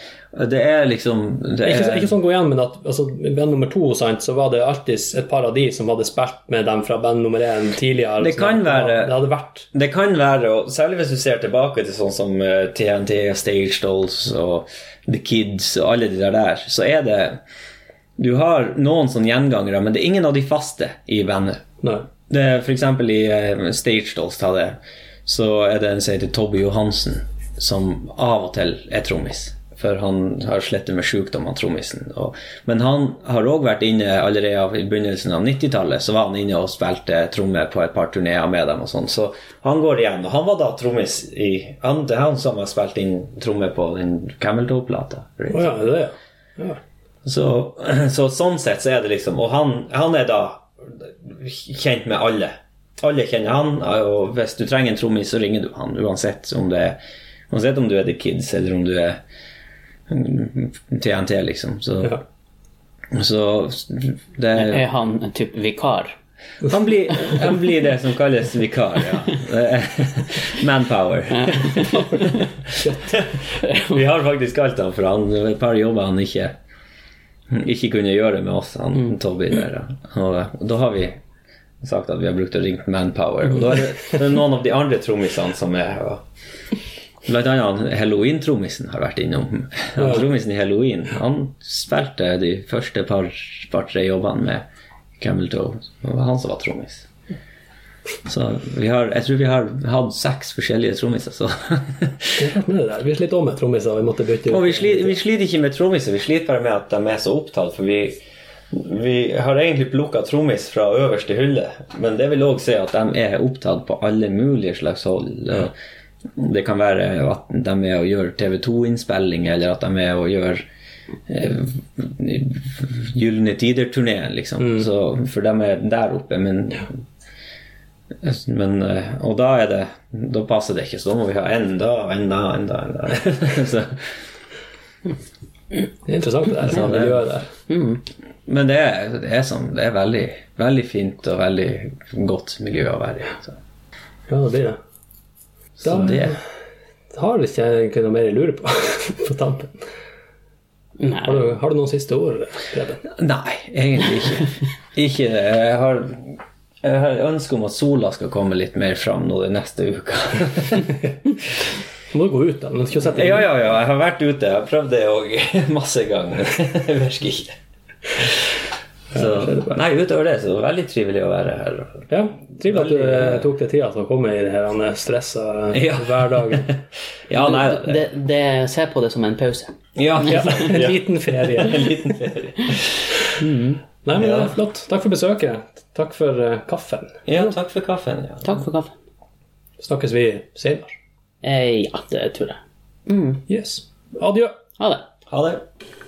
[SPEAKER 3] det er liksom det
[SPEAKER 1] Ikke,
[SPEAKER 3] er,
[SPEAKER 1] ikke sånn gå igjen, men at altså, i band nummer to sant, så var det alltid et par av de som hadde spilt med dem fra band nummer én tidligere.
[SPEAKER 3] Det
[SPEAKER 1] sånn
[SPEAKER 3] kan
[SPEAKER 1] at
[SPEAKER 3] være-
[SPEAKER 1] Det hadde vært
[SPEAKER 3] Det kan være, og særlig hvis du ser tilbake til sånn som eh, TNT, Stage Dolls og The Kids og alle de der der, så er det Du har noen sånne gjengangere, men det er ingen av de faste i bandet.
[SPEAKER 1] Nei.
[SPEAKER 3] Det er for eksempel i eh, Stage Dolls, ta det, så er det en som heter Tobby Johansen, som av og til er trommis. For han har slettet med sjukdom, han trommisen. Og- Men han har òg vært inne allerede av- i begynnelsen av 90-tallet. Så var han inne og spilte trommer på et par turneer med dem og sånn. Så
[SPEAKER 4] Han går igjen.
[SPEAKER 3] og han var da trommis i han, Det er han som har spilt inn trommer på den Cameltoe-plata.
[SPEAKER 1] Å ja, det er det, ja.
[SPEAKER 3] Så, så sånn sett så er det liksom Og han, han er da kjent med alle. Alle kjenner han, og hvis du trenger en trommis, så ringer du han. Uansett om det er Uansett om du er The Kids, eller om du er mm, TNT, liksom. Så,
[SPEAKER 1] Ja.
[SPEAKER 3] så det
[SPEAKER 2] Er eh, han en type vikar?
[SPEAKER 3] han blir, han blir det som kalles vikar, ja. Det er Manpower. Vi har faktisk kalt han for han det var et par jobber han ikke ikke kunne gjøre med oss, han Tobby der. ja. Og da har vi sagt at vi har brukt og ringt Manpower. Og da er det, det er noen av de andre trommisene som er her. da. Blant annet han Halloween-trommisen har vært innom. Han Trommisen i Halloween han spilte de første par- par-tre jobbene med Cameltoe. Det var han som var trommis. Så vi har, jeg tror vi har hatt seks forskjellige trommiser. Så.
[SPEAKER 1] Det er rart med det der. Vi slet om med trommiser, og vi måtte bytte
[SPEAKER 4] Og
[SPEAKER 1] ut.
[SPEAKER 4] vi sliter, vi sliter ikke med trommiser, vi sliter bare med at de er så opptatt. For vi, vi har egentlig plukka trommis fra øverste hylle, men det vil òg si at
[SPEAKER 3] De er opptatt på alle mulige slags hold. og Det kan være at de er og gjør TV2-innspilling, eller at de er og gjør eh, Gylne tider-turneen, liksom. Så, for de er der oppe, men, men eh, Og da er det Da passer det ikke, så da må vi ha enda, enda, enda, enda. så,
[SPEAKER 1] Det er interessant det der, sånn
[SPEAKER 3] det-
[SPEAKER 1] miljøet der.
[SPEAKER 3] men det er, det er sånn. Det er veldig, veldig fint og veldig godt miljø å være i. Så,
[SPEAKER 1] Ja, det blir det.
[SPEAKER 3] så
[SPEAKER 1] Da-
[SPEAKER 3] det
[SPEAKER 1] Har ikke jeg egentlig noe mer jeg lurer på på tampen?
[SPEAKER 2] Nei.
[SPEAKER 1] Har du, har du noen siste ord, Preben?
[SPEAKER 3] Nei, egentlig ikke. ikke det. Jeg har, jeg har ønske om at sola skal komme litt mer fram nå den neste uka.
[SPEAKER 1] Du må jo gå ut, da. men Du skal jo sette deg
[SPEAKER 4] Ja, ja, ja, jeg har vært ute. Jeg har prøvd det òg masse ganger. Det virker ikke.
[SPEAKER 3] Så, nei, utover det så er det veldig trivelig å være her.
[SPEAKER 1] Ja, Trivelig at du eh, tok deg tida til å komme i det her eh, stressa eh,
[SPEAKER 3] Ja.
[SPEAKER 1] hverdagen.
[SPEAKER 3] Ja, nei, det,
[SPEAKER 2] Det, det, se på det som en pause.
[SPEAKER 3] ja,
[SPEAKER 1] Ja, en liten ferie. Mm. Nei, men det
[SPEAKER 4] Ja.
[SPEAKER 1] er flott. Takk for besøket. Takk for eh, kaffen.
[SPEAKER 4] Ja, takk for kaffen. Ja.
[SPEAKER 2] Takk for kaffen.
[SPEAKER 1] Snakkes vi senere.
[SPEAKER 2] Eh, ja, det tror jeg.
[SPEAKER 1] Yes. Adjø.
[SPEAKER 2] Ha det.
[SPEAKER 4] Ha det.